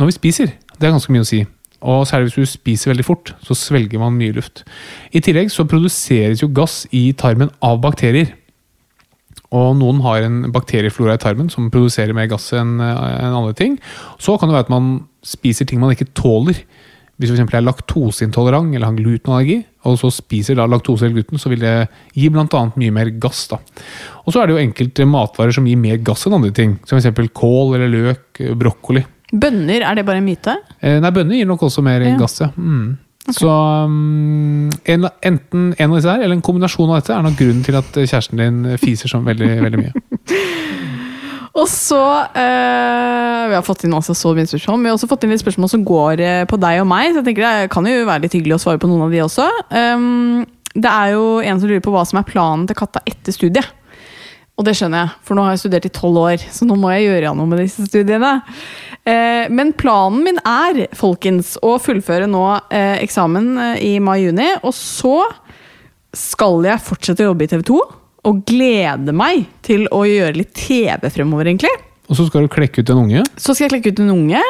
Speaker 2: når vi spiser. Det er ganske mye å si. Og særlig hvis du spiser veldig fort, så svelger man mye luft. I tillegg så produseres jo gass i tarmen av bakterier. Og noen har en bakterieflora i tarmen som produserer mer gass enn eh, enn andre ting. Så kan det være at man spiser ting man ikke tåler. Hvis du for eksempel er laktoseintolerant eller har glutenallergi, og så spiser da laktose eller gluten, så vil det gi bl.a. mye mer gass. da. Og så er det jo enkelte matvarer som gir mer gass enn andre ting. Som f.eks. kål eller løk, eh, brokkoli.
Speaker 1: Bønner, er det bare en myte?
Speaker 2: Eh, Nei, bønner gir nok også mer
Speaker 1: Ja.
Speaker 2: gass, ja. Mm. Så um, en, enten en av disse her, eller en kombinasjon av dette, er nok grunnen til at eh, kjæresten din fiser sånn veldig, veldig mye.
Speaker 1: Og så eh, Vi har fått inn altså så mye spørsmål, men vi har også fått inn litt spørsmål som går eh, på deg og meg, så jeg tenker det kan jo være litt hyggelig å svare på noen av de også. Um, det er jo en som lurer på hva som er planen til katta etter studiet. Og det skjønner jeg, for nå har jeg studert i tolv år, så nå må jeg gjøre noe med disse studiene. Eh, men planen min er, folkens, å fullføre nå eh, eksamen eh, i mai-juni, og så skal jeg fortsette å jobbe i TV 2, og gleder meg til å gjøre litt TV fremover, egentlig.
Speaker 2: Og så skal du klekke ut en unge.
Speaker 1: Så skal jeg klekke ut en unge.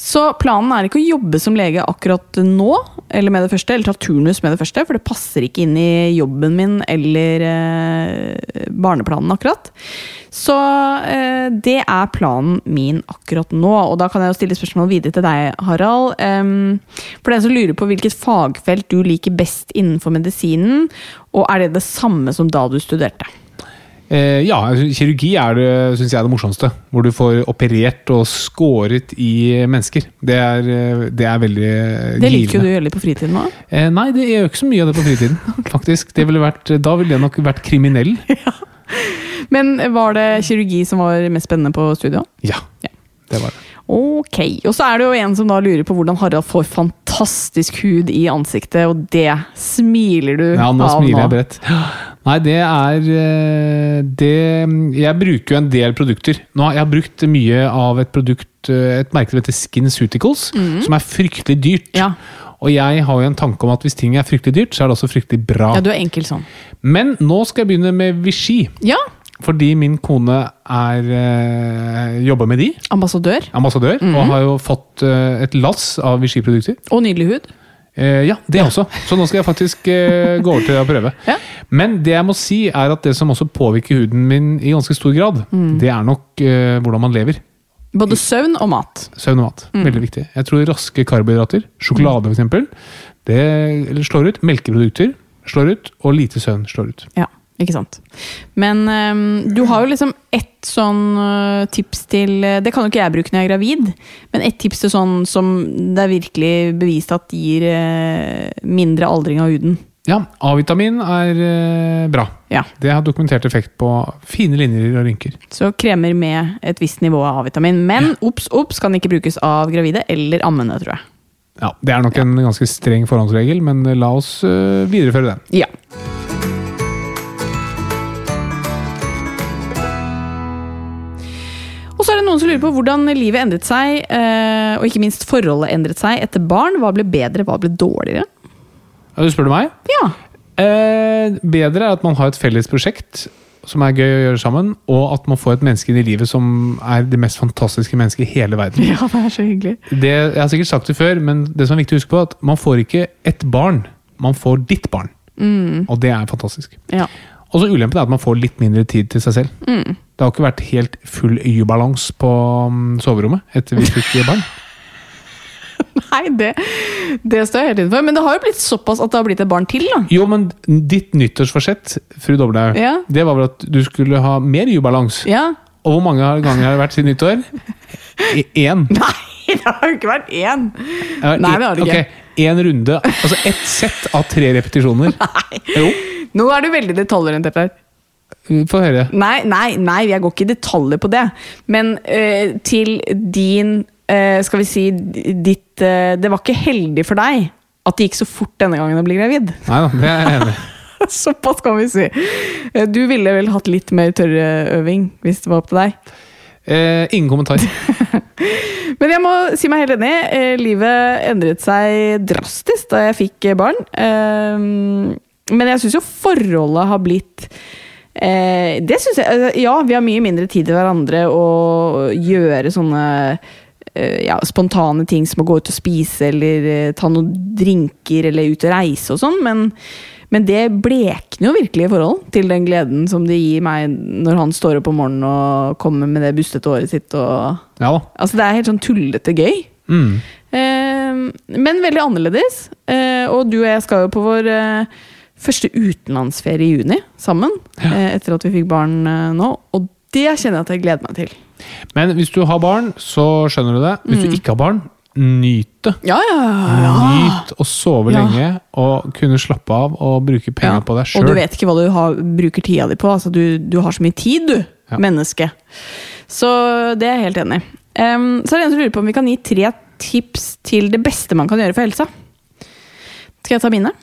Speaker 1: Så planen er ikke å jobbe som lege akkurat nå, eller med det første, eller ta turnus med det første, for det passer ikke inn i jobben min eller eh, barneplanen akkurat. Så eh, det er planen min akkurat nå, og da kan jeg jo stille spørsmål videre til deg, Harald. Em, for den som lurer på hvilket fagfelt du liker best innenfor medisinen, og er det det samme som da du studerte?
Speaker 2: Eh, ja, kirurgi er det, synes jeg, er det morsomste. Hvor du får operert og skåret i mennesker. Det er, eh, det er veldig eh,
Speaker 1: Det liker jo du å gjøre litt på fritiden òg.
Speaker 2: Eh, nei, det gjør jo ikke så mye av det på fritiden. faktisk. Det ville vært, eh, da ville jeg nok vært kriminell.
Speaker 1: Men var det kirurgi som var mest spennende på studiet?
Speaker 2: Ja,
Speaker 1: Ja.
Speaker 2: det var det.
Speaker 1: Ok, og så er det jo en som da lurer på hvordan Harald får fantastisk hud i ansiktet, og det smiler du
Speaker 2: Ja, nå
Speaker 1: av
Speaker 2: smiler jeg
Speaker 1: nå.
Speaker 2: bredt. Nei, det er eh, det Jeg bruker jo en del produkter. Nå har jeg brukt mye av et produkt, eh, et merke som heter Skinceuticals, som er fryktelig dyrt.
Speaker 1: Mhm. Ja.
Speaker 2: Og jeg har jo en tanke om at hvis ting er fryktelig dyrt, så er det også fryktelig bra.
Speaker 1: Ja, du er enkel sånn.
Speaker 2: Men nå skal jeg begynne med Vichy,
Speaker 1: Ja,
Speaker 2: fordi min kone er eh, jobber med de,
Speaker 1: ambassadør
Speaker 2: ambassadør,
Speaker 1: Mhm.
Speaker 2: og har jo fått eh, et lass av Vichy-produkter.
Speaker 1: og nydelig hud.
Speaker 2: Eh, ja, det også. Så nå skal jeg faktisk eh, gå over til å prøve.
Speaker 1: Ja.
Speaker 2: Men det jeg må si er at det som også påvirker huden min i ganske stor grad, det er nok eh, hvordan man lever.
Speaker 1: Både søvn og mat.
Speaker 2: Søvn og mat. Veldig viktig. Jeg tror raske karbohydrater, sjokolade f.eks., det slår ut. Melkeprodukter slår ut, og lite søvn slår ut.
Speaker 1: Ja, ikke sant. Men øhm, du har jo liksom ett sånn øh, tips til øh, Det kan jo ikke jeg bruke når jeg er gravid, men ett tips til sånn som det er virkelig bevist at gir øh, mindre aldring av huden.
Speaker 2: Ja, A-vitamin er eh, bra.
Speaker 1: Ja.
Speaker 2: Det har dokumentert effekt på fine linjer og rynker.
Speaker 1: Så kremer med et visst nivå av A-vitamin. Men obs, obs kan ikke brukes av gravide eller ammende, tror jeg.
Speaker 2: Ja, Det er nok en ganske streng forhåndsregel, men la oss eh, videreføre den.
Speaker 1: Ja. Og så er det noen som lurer på hvordan livet endret seg, eh, og ikke minst forholdet endret seg etter barn. Hva ble bedre, hva ble dårligere?
Speaker 2: Ja, Du spør du meg?
Speaker 1: Ja.
Speaker 2: Eh, bedre er at man har et felles prosjekt som er gøy å gjøre sammen, og at man får et menneske inn i livet som er det mest fantastiske mennesket i hele verden.
Speaker 1: Ja, det er så hyggelig.
Speaker 2: Det, jeg har sikkert sagt det før, men det som er viktig å huske på, er at man får ikke ett barn, man får ditt barn. Og det er fantastisk.
Speaker 1: Ja.
Speaker 2: Og Og så ulempen er at man får litt mindre tid til seg selv. Det har ikke vært helt full Y-balans på mm, soverommet etter vi fikk barn.
Speaker 1: Nei, det, det står jeg helt innenfor. Men det har jo blitt såpass at det har blitt et barn til, da.
Speaker 2: Jo, men ditt nyttårsforsett, fru Doblehaug,
Speaker 1: Ja.
Speaker 2: det var vel at du skulle ha mer Y-balans.
Speaker 1: Ja.
Speaker 2: Og hvor mange ganger har det vært siden nyttår? I- Én.
Speaker 1: Nei, det har jo ikke vært én!
Speaker 2: Ja,
Speaker 1: Nei,
Speaker 2: i-
Speaker 1: det har det
Speaker 2: ok, Én runde, altså ett sett av tre repetisjoner. Jo,
Speaker 1: Nå er du veldig detaljorientert her.
Speaker 2: få høre.
Speaker 1: Nei, nei, nei, jeg går ikke i detaljer på det. Men eh, til din eh, Skal vi si ditt eh, Det var ikke heldig for deg at det gikk så fort denne gangen å bli gravid.
Speaker 2: Nei da, det er jeg enig i.
Speaker 1: Såpass kan vi si. Eh, Du ville vel hatt litt mer tørreøving hvis det var opp til deg.
Speaker 2: Eh, ingen kommentar.
Speaker 1: Men jeg må si meg helt enig. Eh, Livet endret seg drastisk da jeg fikk eh, barn. Eh, Men jeg syns jo forholdet har blitt eh, Det syns jeg altså, Ja, vi har mye mindre tid til hverandre og gjøre sånne eh, ja, spontane ting som å gå ut og spise eller eh, ta noen drinker eller ut og reise og sånn, men, men det blekner jo virkelig i forhold til den gleden som det gir meg når han står opp om morgenen og kommer med det bustete håret sitt og
Speaker 2: Ja da.
Speaker 1: Altså, det er helt sånn tullete gøy.
Speaker 2: Mm.
Speaker 1: Eh, men veldig annerledes. Eh, og du og jeg skal jo på vår eh, første utenlandsferie i juni sammen. Eh, etter at vi fikk barn eh, nå. Og det kjenner jeg at jeg gleder meg til.
Speaker 2: Men hvis du har barn, så skjønner du det. Hvis du ikke har barn, nyt det.
Speaker 1: Ja, Mm. ja,
Speaker 2: Nyt å sove
Speaker 1: Ja.
Speaker 2: lenge og kunne slappe av og bruke penger på deg
Speaker 1: Og du
Speaker 2: sjøl.
Speaker 1: vet ikke hva du har, bruker tida di på. Altså, du, du har så mye tid, du.
Speaker 2: Ja.
Speaker 1: Menneske. Så det er jeg helt enig i. Em, så er det en som lurer på om vi kan gi tre tips til det beste man kan gjøre for helsa. Skal jeg ta mine?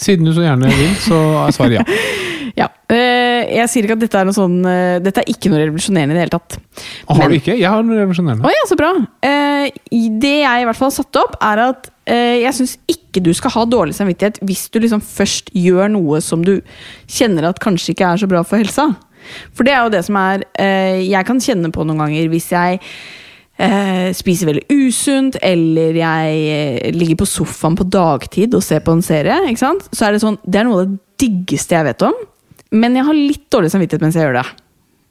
Speaker 2: Siden du så gjerne vil, så er svaret ja.
Speaker 1: Ja, eh, Jeg sier ikke at dette er noe sånn eh, Dette er ikke noe revolusjonerende i det hele tatt.
Speaker 2: Og har
Speaker 1: Men-
Speaker 2: du ikke? Jeg har noe
Speaker 1: Å
Speaker 2: revolusjonerende.
Speaker 1: ja, så bra. Eh, i- Det jeg i hvert fall har satt opp, er at eh, jeg syns ikke du skal ha dårlig samvittighet hvis du liksom først gjør noe som du kjenner at kanskje ikke er så bra for helsa. For det er jo det som er eh, Jeg kan kjenne på noen ganger hvis jeg eh, spiser veldig usunt, eller jeg eh, ligger på sofaen på dagtid og ser på en serie, ikke sant? så er det sånn Det er noe av det diggeste jeg vet om, men jeg har litt dårlig samvittighet mens jeg gjør det.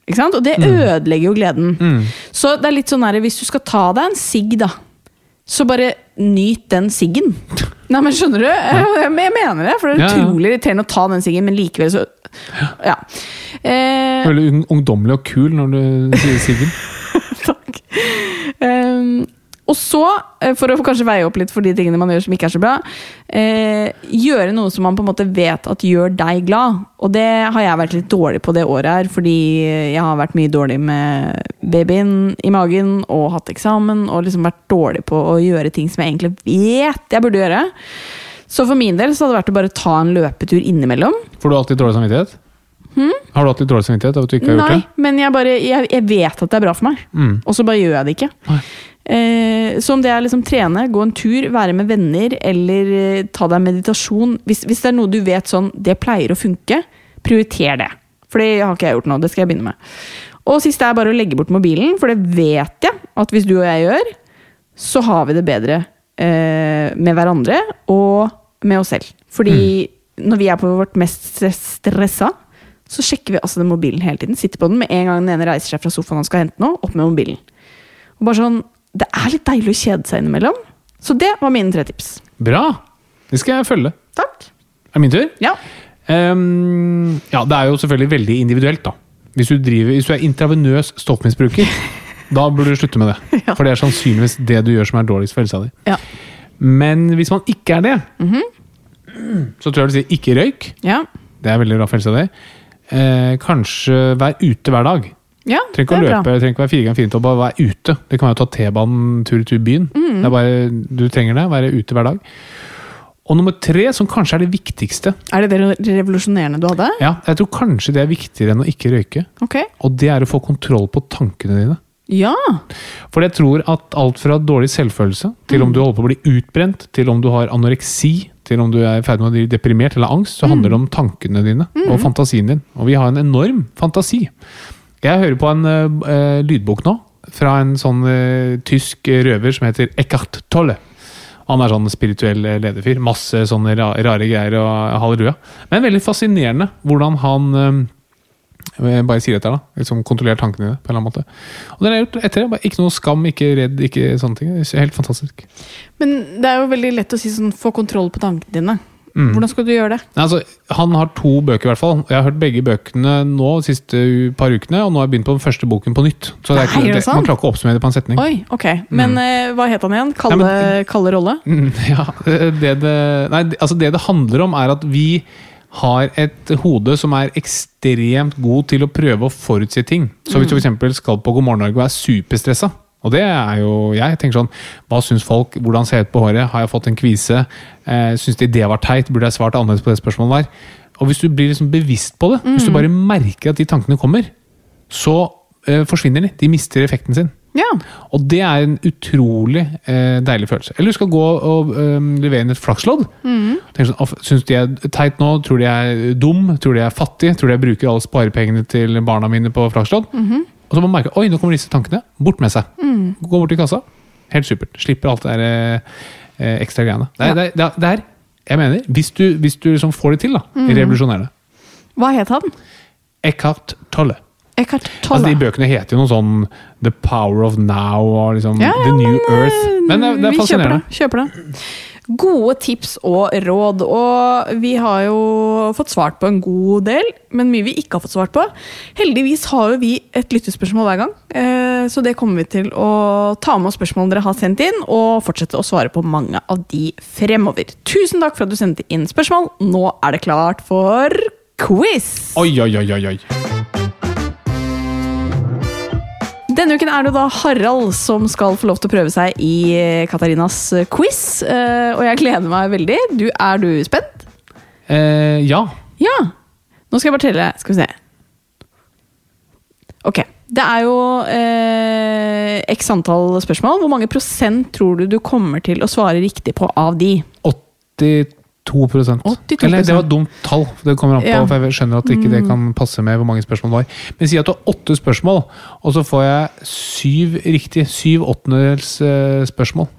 Speaker 1: Ikke sant? Og det
Speaker 2: Mm.
Speaker 1: ødelegger jo gleden. Så det er litt sånn her, hvis du skal ta deg en sigg, da, så bare nyt den siggen. Nei, men skjønner du? Jeg, jeg mener det, for det er
Speaker 2: Ja, ja.
Speaker 1: utrolig irriterende å ta den siggen, men likevel så Ja. Eh,
Speaker 2: Veldig ung- ungdommelig og kul når du sier Siggen.
Speaker 1: Takk. Ehm, og så, eh, for å kanskje veie opp litt for de tingene man gjør som ikke er så bra, eh, gjøre noe som man på en måte vet at gjør deg glad. Og det har jeg vært litt dårlig på det året her, fordi jeg har vært mye dårlig med babyen i magen og hatt eksamen og liksom vært dårlig på å gjøre ting som jeg egentlig vet jeg burde gjøre. Så for min del så hadde det vært å bare ta en løpetur innimellom.
Speaker 2: Får du alltid dårlig samvittighet? Har du alltid dårlig samvittighet av at du ikke har
Speaker 1: Nei,
Speaker 2: gjort det?
Speaker 1: men jeg, bare, jeg, jeg vet at det er bra for meg,
Speaker 2: Mm.
Speaker 1: og så bare gjør jeg det ikke.
Speaker 2: Nei.
Speaker 1: Eh, så om det er liksom trene, gå en tur, være med venner eller eh, ta deg meditasjon hvis, hvis det er noe du vet sånn, det pleier å funke, prioriter det. For det har ikke jeg gjort nå, det skal jeg begynne med. Og siste er bare å legge bort mobilen, for det vet jeg at hvis du og jeg gjør, så har vi det bedre eh, med hverandre og med oss selv. Fordi når vi er på vårt mest stress- stressa, så sjekker vi altså den mobilen hele tiden. Sitter på den med en gang den ene reiser seg fra sofaen og skal hente noe, opp med mobilen. Og bare sånn, Det er litt deilig å kjede seg innimellom. Så det var mine tre tips.
Speaker 2: Bra! Det skal jeg følge.
Speaker 1: Takk.
Speaker 2: Er det min tur?
Speaker 1: Ja.
Speaker 2: Ehm, ja, det er jo selvfølgelig veldig individuelt, da. Hvis du, driver, hvis du er intravenøs stoffmisbruker, da burde du slutte med det.
Speaker 1: Ja.
Speaker 2: For det er sannsynligvis det du gjør som er dårligst for helsa di.
Speaker 1: Ja.
Speaker 2: Men hvis man ikke er det, så tror jeg du sier ikke røyk.
Speaker 1: Ja.
Speaker 2: Det er veldig bra for helsa di. Eh, kanskje vær ute hver dag.
Speaker 1: ja
Speaker 2: Trenger ikke å løpe, trenger ikke være fire ganger fint og bare være ute. Det kan være å ta T-banen tur-retur byen. Det er bare, du trenger det, være ute hver dag. Og nummer tre, som kanskje er det viktigste,
Speaker 1: Er det det revolusjonerende du hadde?
Speaker 2: ja, jeg tror kanskje det er viktigere enn å ikke røyke,
Speaker 1: Ok.
Speaker 2: og det er å få kontroll på tankene dine.
Speaker 1: Ja.
Speaker 2: For jeg tror at alt fra dårlig selvfølelse, til om du holder på å bli utbrent, til om du har anoreksi, til om du er i ferd med å bli deprimert eller angst, så handler det om tankene dine og fantasien din. Og vi har en enorm fantasi. Jeg hører på en eh, b- eh, lydbok nå fra en sånn eh, tysk eh, røver som heter Eckhart Tolle. Han er sånn spirituell eh, lederfyr. Masse sånne ra- rare greier og halleluja. Men veldig fascinerende hvordan han eh, jeg bare sier dette her, da. Liksom kontrollerer tankene dine. på en eller annen måte. Og det har jeg gjort etter det. Bare Ikke noe skam, ikke redd, ikke sånne ting. Det er helt fantastisk.
Speaker 1: Men det er jo veldig lett å si sånn få kontroll på tankene dine.
Speaker 2: Mm.
Speaker 1: Hvordan skal du gjøre det?
Speaker 2: Nei, altså, han har to bøker, i hvert fall. Jeg har hørt begge bøkene nå de siste u- par ukene, og nå har jeg begynt på den første boken på nytt. Så
Speaker 1: Nei,
Speaker 2: det er
Speaker 1: er
Speaker 2: ikke,
Speaker 1: det
Speaker 2: det,
Speaker 1: sant?
Speaker 2: man klarer ikke å oppsummere det på en setning.
Speaker 1: Oi, ok.
Speaker 2: Mm.
Speaker 1: Men eh, hva het han igjen? Kalle,
Speaker 2: Nei,
Speaker 1: Kalle Rolle?
Speaker 2: Mm, Ja, det det, nei, det- altså det det handler om er at vi har et hode som er ekstremt god til å prøve å forutse ting. Så hvis du f.eks. skal på God morgen Norge og er superstressa, og det er jo jeg, jeg tenker sånn Hva syns folk? Hvordan ser jeg ut på håret? Har jeg fått en kvise? Eh, syns de det var teit? Burde jeg svart annerledes på det spørsmålet der? Og hvis du blir liksom bevisst på det, hvis du bare merker at de tankene kommer, så eh, forsvinner de. De mister effekten sin.
Speaker 1: Ja.
Speaker 2: Og det er en utrolig eh, deilig følelse. Eller du skal gå og eh, levere inn et flakslodd. Mm. Sånn, «Å, Syns de er teit nå? Tror de er dum? Tror de er fattig? Tror de jeg bruker alle sparepengene til barna mine på flakslodd? Og så må man merke oi, nå kommer disse tankene. Bort med seg. Gå bort til kassa. Helt supert. Slipper alt det der eh, eh, ekstra greiene. Det er, det, er- det, er, det er, jeg mener, hvis du, hvis du liksom får det til, da, revolusjonerende.
Speaker 1: Hva het han?
Speaker 2: Eckhart Tolle.
Speaker 1: Eckhart
Speaker 2: Altså,
Speaker 1: Tolle.
Speaker 2: de bøkene heter jo noe sånn The Power of Now og liksom
Speaker 1: Ja, ja,
Speaker 2: The New
Speaker 1: men, eh,
Speaker 2: Earth. Men det, er- det er
Speaker 1: vi
Speaker 2: fascinerende.
Speaker 1: Kjøper det. Kjøper det. Gode tips og råd. Og vi har jo fått svart på en god del, men mye vi ikke har fått svart på. Heldigvis har jo vi et lyttespørsmål hver gang, eh, så det kommer vi til å ta med oss spørsmålene dere har sendt inn, og fortsette å svare på mange av de fremover. Tusen takk for at du sendte inn spørsmål. Nå er det klart for quiz!
Speaker 2: Oi, oi, oi, oi, oi.
Speaker 1: Denne uken er det da Harald som skal få lov til å prøve seg i eh, Katarinas eh, quiz. eh, Og jeg gleder meg veldig. Du, er du spent?
Speaker 2: Eh, ja.
Speaker 1: Ja. Nå skal jeg bare telle. Skal vi se. Ok. Det er jo eh, x antall spørsmål. Hvor mange prosent tror du du kommer til å svare riktig på av de?
Speaker 2: 82
Speaker 1: 82%.
Speaker 2: Eller det var et dumt tall. Det kommer an på,
Speaker 1: Ja. Mm.
Speaker 2: for jeg skjønner at ikke det kan passe med hvor mange spørsmål det var. Men si at du har åtte spørsmål, og så får jeg syv riktig. Syv åttendels eh, spørsmål.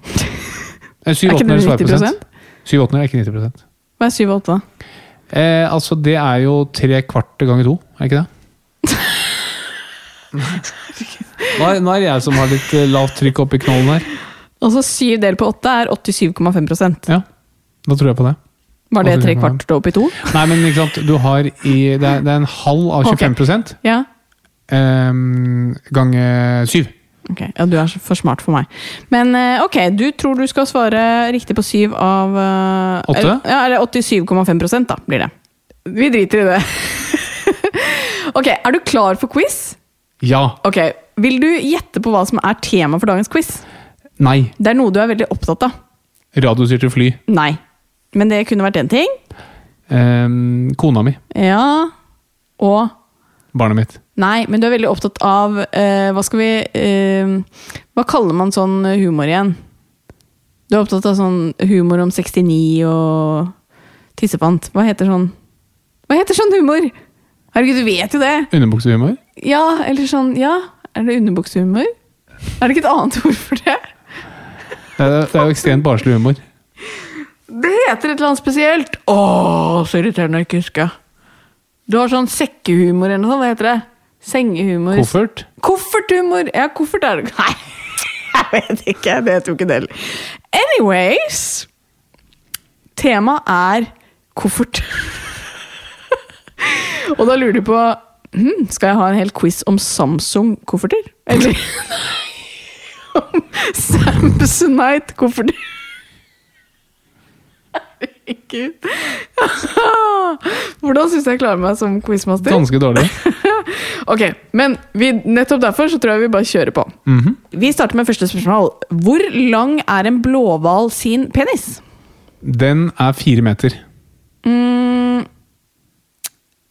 Speaker 1: Er ikke
Speaker 2: Eh, Syv
Speaker 1: det
Speaker 2: åttendels
Speaker 1: 90%?
Speaker 2: svareprosent. Syv åttendels er ikke 90
Speaker 1: Hva er syv og åtte, da?
Speaker 2: eh, Altså, det er jo tre kvart ganger to, er ikke det? Nå er, nå er det jeg som har litt eh, lavt trykk oppi knollen her.
Speaker 1: Altså syv delt på åtte er 87,5 prosent.
Speaker 2: Ja, da tror jeg på det.
Speaker 1: Var det tre
Speaker 2: 87,5.
Speaker 1: kvart opp i to?
Speaker 2: Nei, men ikke sant, du har i Det er, det er en halv av 25
Speaker 1: Ja.
Speaker 2: ehm, ganger syv.
Speaker 1: Ok, ja, Du er så- for smart for meg. Men eh, ok, du tror du skal svare riktig på 7 av eh,
Speaker 2: Åtte?
Speaker 1: Eller, ja, eller 87,5 da, blir det. Vi driter i det. ok, Er du klar for quiz?
Speaker 2: Ja.
Speaker 1: Ok, Vil du gjette på hva som er tema for dagens quiz?
Speaker 2: Nei.
Speaker 1: Det er noe du er veldig opptatt av.
Speaker 2: Radiostyrte fly.
Speaker 1: Nei. Men det kunne vært én ting.
Speaker 2: Ehm, kona mi.
Speaker 1: Ja. Og
Speaker 2: Barnet mitt.
Speaker 1: Nei, men du er veldig opptatt av eh, Hva skal vi eh, Hva kaller man sånn humor igjen? Du er opptatt av sånn humor om 69 og tissefant. Hva heter sånn Hva heter sånn humor? Herregud, du vet jo det!
Speaker 2: Underbuksehumor.
Speaker 1: Ja, eller sånn Ja, er det underbuksehumor? Er det ikke et annet ord for det?
Speaker 2: Det, er- det er jo ekstremt barnslig humor.
Speaker 1: Det heter et eller annet spesielt. Åh, så irriterende å ikke huske. Du har sånn sekkehumor eller noe sånt. Hva heter det? Sengehumor.
Speaker 2: Koffert.
Speaker 1: Kofferthumor! Ja, koffert er det Nei, jeg vet ikke. Det vet jo ikke det heller. Anyways Temaet er koffert. Og da lurer du på hm, Skal jeg ha en hel quiz om Samsung-kofferter? Eller Nei, om Samsonite-kofferter? Herregud. Hvordan syns du jeg klarer meg som quizmaster?
Speaker 2: Ganske dårlig.
Speaker 1: Ok, men vi, nettopp derfor så tror jeg vi bare kjører på. Vi starter med første spørsmål. Hvor lang er en blåhval sin penis?
Speaker 2: Den er fire meter.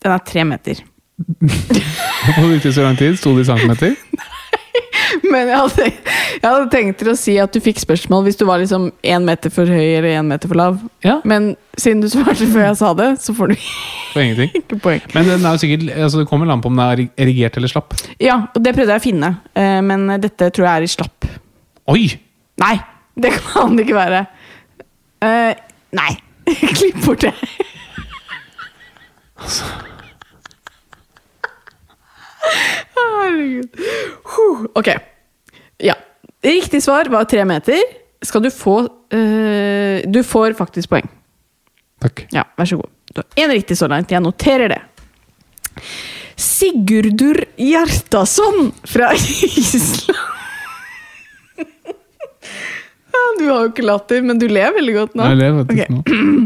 Speaker 1: Den er tre meter.
Speaker 2: Hvorfor brukte du så lang tid? Sto det i centimeter?
Speaker 1: Men jeg hadde, jeg hadde tenkt til å si at du fikk spørsmål hvis du var liksom én meter for høy eller én meter for lav.
Speaker 2: Ja.
Speaker 1: Men siden du svarte før jeg sa det, så får du
Speaker 2: For ingenting.
Speaker 1: ikke poeng.
Speaker 2: Men den er jo sikkert, altså det kommer an på om den er erigert eller slapp.
Speaker 1: Ja, og det prøvde jeg å finne, eh, men dette tror jeg er i slapp.
Speaker 2: Oi!
Speaker 1: Nei, det kan det ikke være. Eh, nei. Klipp bort det. Herregud. Huh, Ok. Ja. Riktig svar var tre meter. Skal du få eh, Du får faktisk poeng.
Speaker 2: Takk.
Speaker 1: Ja, vær så god. Du har én riktig så langt. Jeg noterer det. Sigurdur Hjertason fra Island. Du har jo ikke latter, men du ler veldig godt nå.
Speaker 2: Jeg ler faktisk
Speaker 1: Ok.
Speaker 2: nå.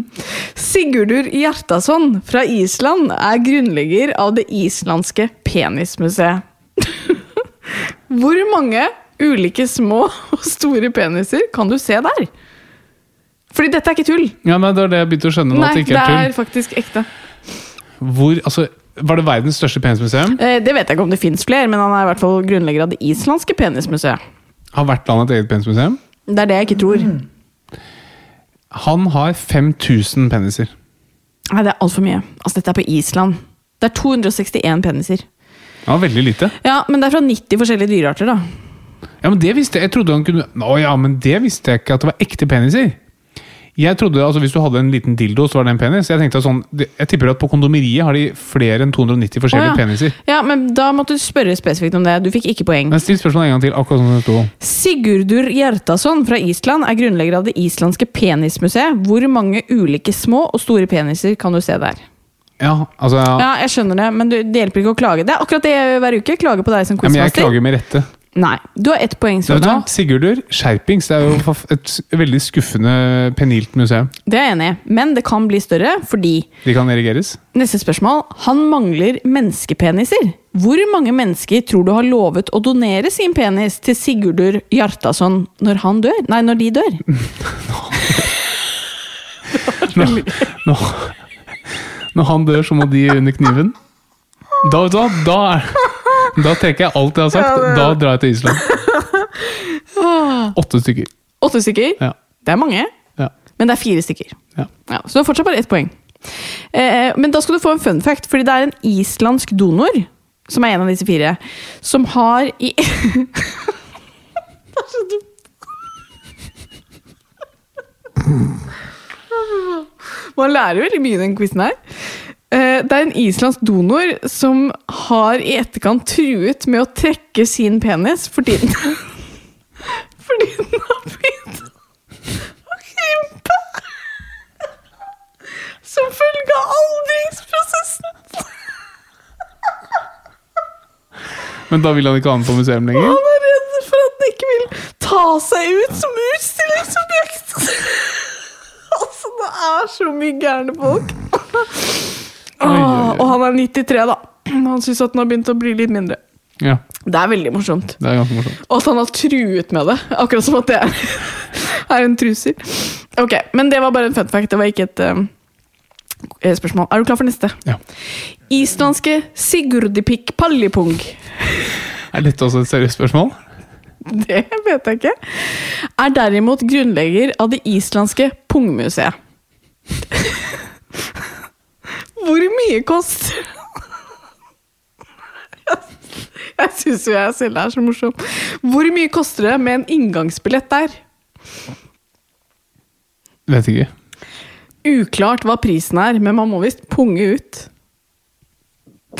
Speaker 1: Sigurdur Hjertason fra Island er grunnlegger av det islandske penismuseet. Hvor mange ulike små og store peniser kan du se der? Fordi dette er ikke tull.
Speaker 2: Ja, nei, det var det jeg begynte å skjønne nå.
Speaker 1: Nei,
Speaker 2: at det
Speaker 1: det
Speaker 2: ikke er
Speaker 1: er
Speaker 2: tull.
Speaker 1: faktisk ekte.
Speaker 2: Hvor, altså, var det verdens største penismuseum?
Speaker 1: Eh, Det vet jeg ikke om det fins flere, men han er i hvert fall grunnlegger av det islandske penismuseet. Mm.
Speaker 2: Har hvert land et eget penismuseum?
Speaker 1: Det er det jeg ikke tror. Nei,
Speaker 2: Han har 5000 peniser.
Speaker 1: det er altfor mye. Altså, dette er på Island. Det er 261 peniser.
Speaker 2: Det var veldig lite.
Speaker 1: Ja, men det er fra 90 forskjellige dyrearter, da.
Speaker 2: Ja, men det visste jeg. Jeg trodde han kunne... Å ja, men det visste jeg ikke at det var ekte peniser. Jeg trodde, altså Hvis du hadde en liten dildo, så var det en penis. Jeg tenkte at sånn, det- jeg tipper at på kondomeriet har de flere enn 290
Speaker 1: Å,
Speaker 2: forskjellige
Speaker 1: ja.
Speaker 2: peniser.
Speaker 1: Ja, men da måtte du spørre spesifikt om det. Du fikk ikke poeng.
Speaker 2: Men still spørsmålet en gang til. akkurat som det sto.
Speaker 1: Sigurdur Hjertason fra Island er grunnlegger av det islandske penismuseet. Hvor mange ulike små og store peniser kan du se der?
Speaker 2: Ja, altså... Ja,
Speaker 1: Ja, jeg skjønner det, men du, det hjelper ikke å klage. Det er akkurat det jeg gjør hver uke. Klage på deg som
Speaker 2: men jeg
Speaker 1: quizmaster.
Speaker 2: klager med rette.
Speaker 1: Nei, du har ett poeng så
Speaker 2: Vet du hva?
Speaker 1: langt.
Speaker 2: Sigurdur, skjerpings. Det er jo forf- et veldig skuffende penilt museum.
Speaker 1: Det er jeg enig i, men det kan bli større fordi
Speaker 2: De kan erigeres.
Speaker 1: Neste spørsmål. Han mangler menneskepeniser. Hvor mange mennesker tror du har lovet å donere sin penis til Sigurdur Hjartason når han dør? Nei, når de dør?
Speaker 2: Nå, nå, når han dør, så må de under kniven. Da, vet du hva? Da, er- da trekker jeg alt jeg har sagt. Da drar jeg til Island. Åtte stykker.
Speaker 1: Åtte stykker?
Speaker 2: Ja.
Speaker 1: Det er mange,
Speaker 2: Ja.
Speaker 1: men det er fire stykker.
Speaker 2: ja.
Speaker 1: Ja, så du har fortsatt bare ett poeng. Eh, men da skal du få en fun fact, fordi det er en islandsk donor, som er en av disse fire, som har i Det er så dumt. Man lærer veldig mye i den quizen her. Eh, Det er en islandsk donor som har i etterkant truet med å trekke sin penis fordi den Fordi den har begynt å krympe som følge av aldringsprosessen.
Speaker 2: Men da vil han ikke ha den på museum lenger?
Speaker 1: Han er redd for at den ikke vil ta seg ut som utstillingsobjekt. altså, det er så mye gærne folk.
Speaker 2: oi, oi.
Speaker 1: Åh, og han er 93, da. Han syns at den har begynt å bli litt mindre.
Speaker 2: Ja,
Speaker 1: Det er veldig morsomt.
Speaker 2: det er ganske morsomt.
Speaker 1: Og at han har truet med det. Akkurat som at det er, er en truser. Ok, Men det var bare en fun fact. Det var ikke et um, eh, spørsmål. Er du klar for neste?
Speaker 2: Ja.
Speaker 1: Islandske Sigurdipik Pallipung.
Speaker 2: Er dette også et seriøst spørsmål?
Speaker 1: Det vet jeg ikke. Er derimot grunnlegger av det islandske pungmuseet. Hvor mye koster Jeg syns jo jeg selv er så morsom. Hvor mye koster det med en inngangsbillett der?
Speaker 2: Vet ikke.
Speaker 1: Uklart hva prisen er, men man må visst punge ut.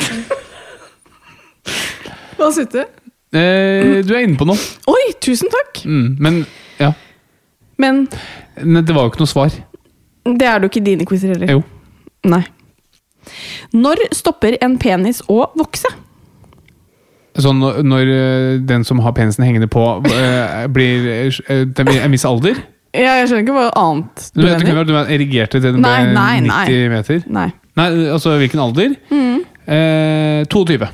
Speaker 1: Hva syns du?
Speaker 2: Eh, du er inne på noe.
Speaker 1: Oi, tusen takk!
Speaker 2: Mm, men ja.
Speaker 1: Men
Speaker 2: Nei, det var jo ikke noe svar.
Speaker 1: det er det jo ikke i dine quizer heller.
Speaker 2: Jo.
Speaker 1: Nei. Når stopper en penis å vokse?
Speaker 2: Sånn når- når eh, den som har penisen hengende på, eh, blir eh, til en viss alder?
Speaker 1: Ja, jeg skjønner ikke hva annet
Speaker 2: Du vet, du kunne vært erigerte til den
Speaker 1: Nei,
Speaker 2: ble
Speaker 1: nei,
Speaker 2: 90
Speaker 1: nei. Mm.
Speaker 2: meter?
Speaker 1: Nei.
Speaker 2: Nei, altså hvilken alder? Eh, 22.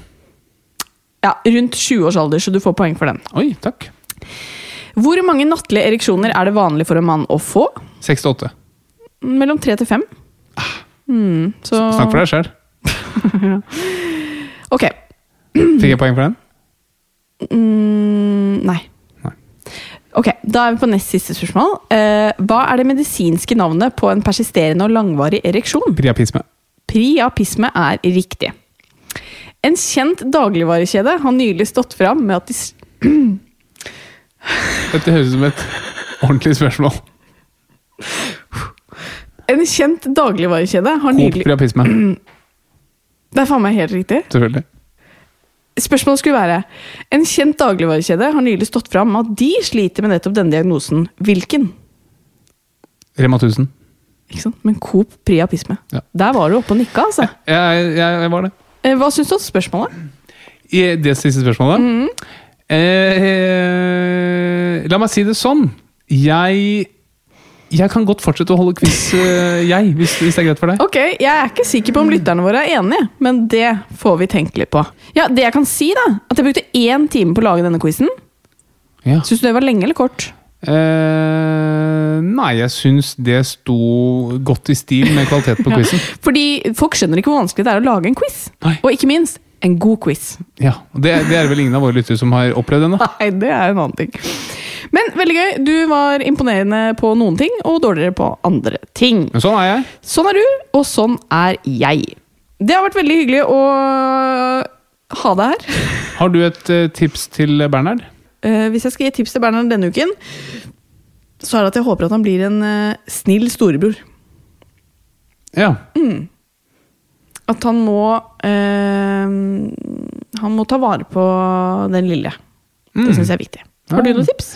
Speaker 1: Ja, Rundt 20 års alder, så du får poeng for den.
Speaker 2: Oi, takk.
Speaker 1: Hvor mange nattlige ereksjoner er det vanlig for en mann å få?
Speaker 2: 68.
Speaker 1: Mellom tre til fem. Mm, så
Speaker 2: Snakk for deg sjøl.
Speaker 1: Ok.
Speaker 2: Fikk jeg poeng for den?
Speaker 1: Mm, nei.
Speaker 2: Nei.
Speaker 1: Ok, Da er vi på nest siste spørsmål. Eh, hva er det medisinske navnet på en persisterende og langvarig ereksjon?
Speaker 2: Priapisme.
Speaker 1: Priapisme er riktig. En kjent dagligvarekjede har nylig stått fram med at de s-
Speaker 2: Dette høres ut som et ordentlig spørsmål.
Speaker 1: En kjent dagligvarekjede har
Speaker 2: Coop
Speaker 1: nylig
Speaker 2: priapisme,
Speaker 1: Det er faen meg helt riktig.
Speaker 2: selvfølgelig.
Speaker 1: Spørsmålet skulle være En kjent dagligvarekjede har nylig stått fram med at de sliter med nettopp denne diagnosen. Hvilken?
Speaker 2: Rema 1000.
Speaker 1: Ikke sant? Men Coop priapisme.
Speaker 2: Ja.
Speaker 1: Der var du oppe og nikka, altså.
Speaker 2: Jeg, jeg, jeg var det.
Speaker 1: Eh, Hva syns du om spørsmålet?
Speaker 2: I det siste spørsmålet? eh, la meg si det sånn. Jeg jeg kan godt fortsette å holde quiz, eh, jeg, hvis, hvis det er greit for deg.
Speaker 1: Ok, Jeg er ikke sikker på om lytterne våre er enige, men det får vi tenke litt på. Ja, Det jeg kan si, da, at jeg brukte én time på å lage denne quizen.
Speaker 2: Ja.
Speaker 1: Syns du det var lenge eller kort?
Speaker 2: Eh, nei, jeg syns det sto godt i stil med kvaliteten på quizen.
Speaker 1: Fordi folk skjønner ikke hvor vanskelig det er å lage en quiz.
Speaker 2: Nei.
Speaker 1: Og ikke minst en god quiz.
Speaker 2: Ja, og det, det er vel ingen av våre lyttere som har opplevd ennå.
Speaker 1: Nei, det er en annen ting. Men veldig gøy. Du var imponerende på noen ting, og dårligere på andre ting.
Speaker 2: Men sånn er jeg.
Speaker 1: Sånn er du, og sånn er jeg. Det har vært veldig hyggelig å ha deg her.
Speaker 2: Har du et eh, tips til Bernhard?
Speaker 1: Eh, hvis jeg skal gi et tips til Bernhard denne uken, så er det at jeg håper at han blir en eh, snill storebror.
Speaker 2: Ja.
Speaker 1: At han må eh, Han må ta vare på den lille. Det syns jeg er viktig. Har du
Speaker 2: Ja.
Speaker 1: noen tips?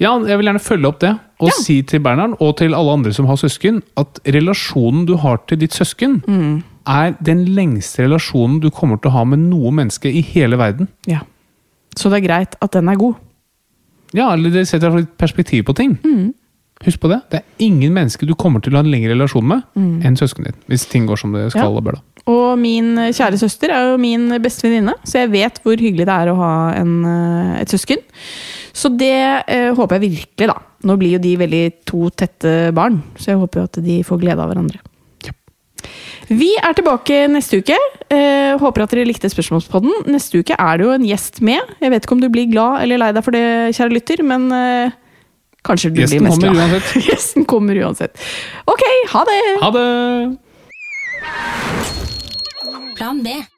Speaker 2: ja, jeg vil gjerne følge opp det og
Speaker 1: Ja.
Speaker 2: si til Bernhard og til alle andre som har søsken, at relasjonen du har til ditt søsken,
Speaker 1: Mm.
Speaker 2: er den lengste relasjonen du kommer til å ha med noe menneske i hele verden.
Speaker 1: Ja. Så det er greit at den er god.
Speaker 2: Ja, eller det setter i hvert fall litt perspektiv på ting.
Speaker 1: Mm.
Speaker 2: Husk på det. Det er ingen menneske du kommer til å ha en lengre relasjon med enn søskenen din. Hvis ting går som det skal
Speaker 1: Mm. Ja.
Speaker 2: og bør, da.
Speaker 1: Og min eh, kjære søster er jo min beste venninne, så jeg vet hvor hyggelig det er å ha en, eh, et søsken. Så det eh, håper jeg virkelig, da. Nå blir jo de veldig to tette barn, så jeg håper jo at de får glede av hverandre.
Speaker 2: Ja.
Speaker 1: Vi er tilbake neste uke. Eh, håper at dere likte spørsmålspodden. Neste uke er det jo en gjest med. Jeg vet ikke om du blir glad eller lei deg for det, kjære lytter, men eh, kanskje du
Speaker 2: Gjesten
Speaker 1: blir mest
Speaker 2: kommer
Speaker 1: glad.
Speaker 2: uansett.
Speaker 1: Gjesten kommer uansett. Ok, ha det!
Speaker 2: Ha det!
Speaker 6: Plan B.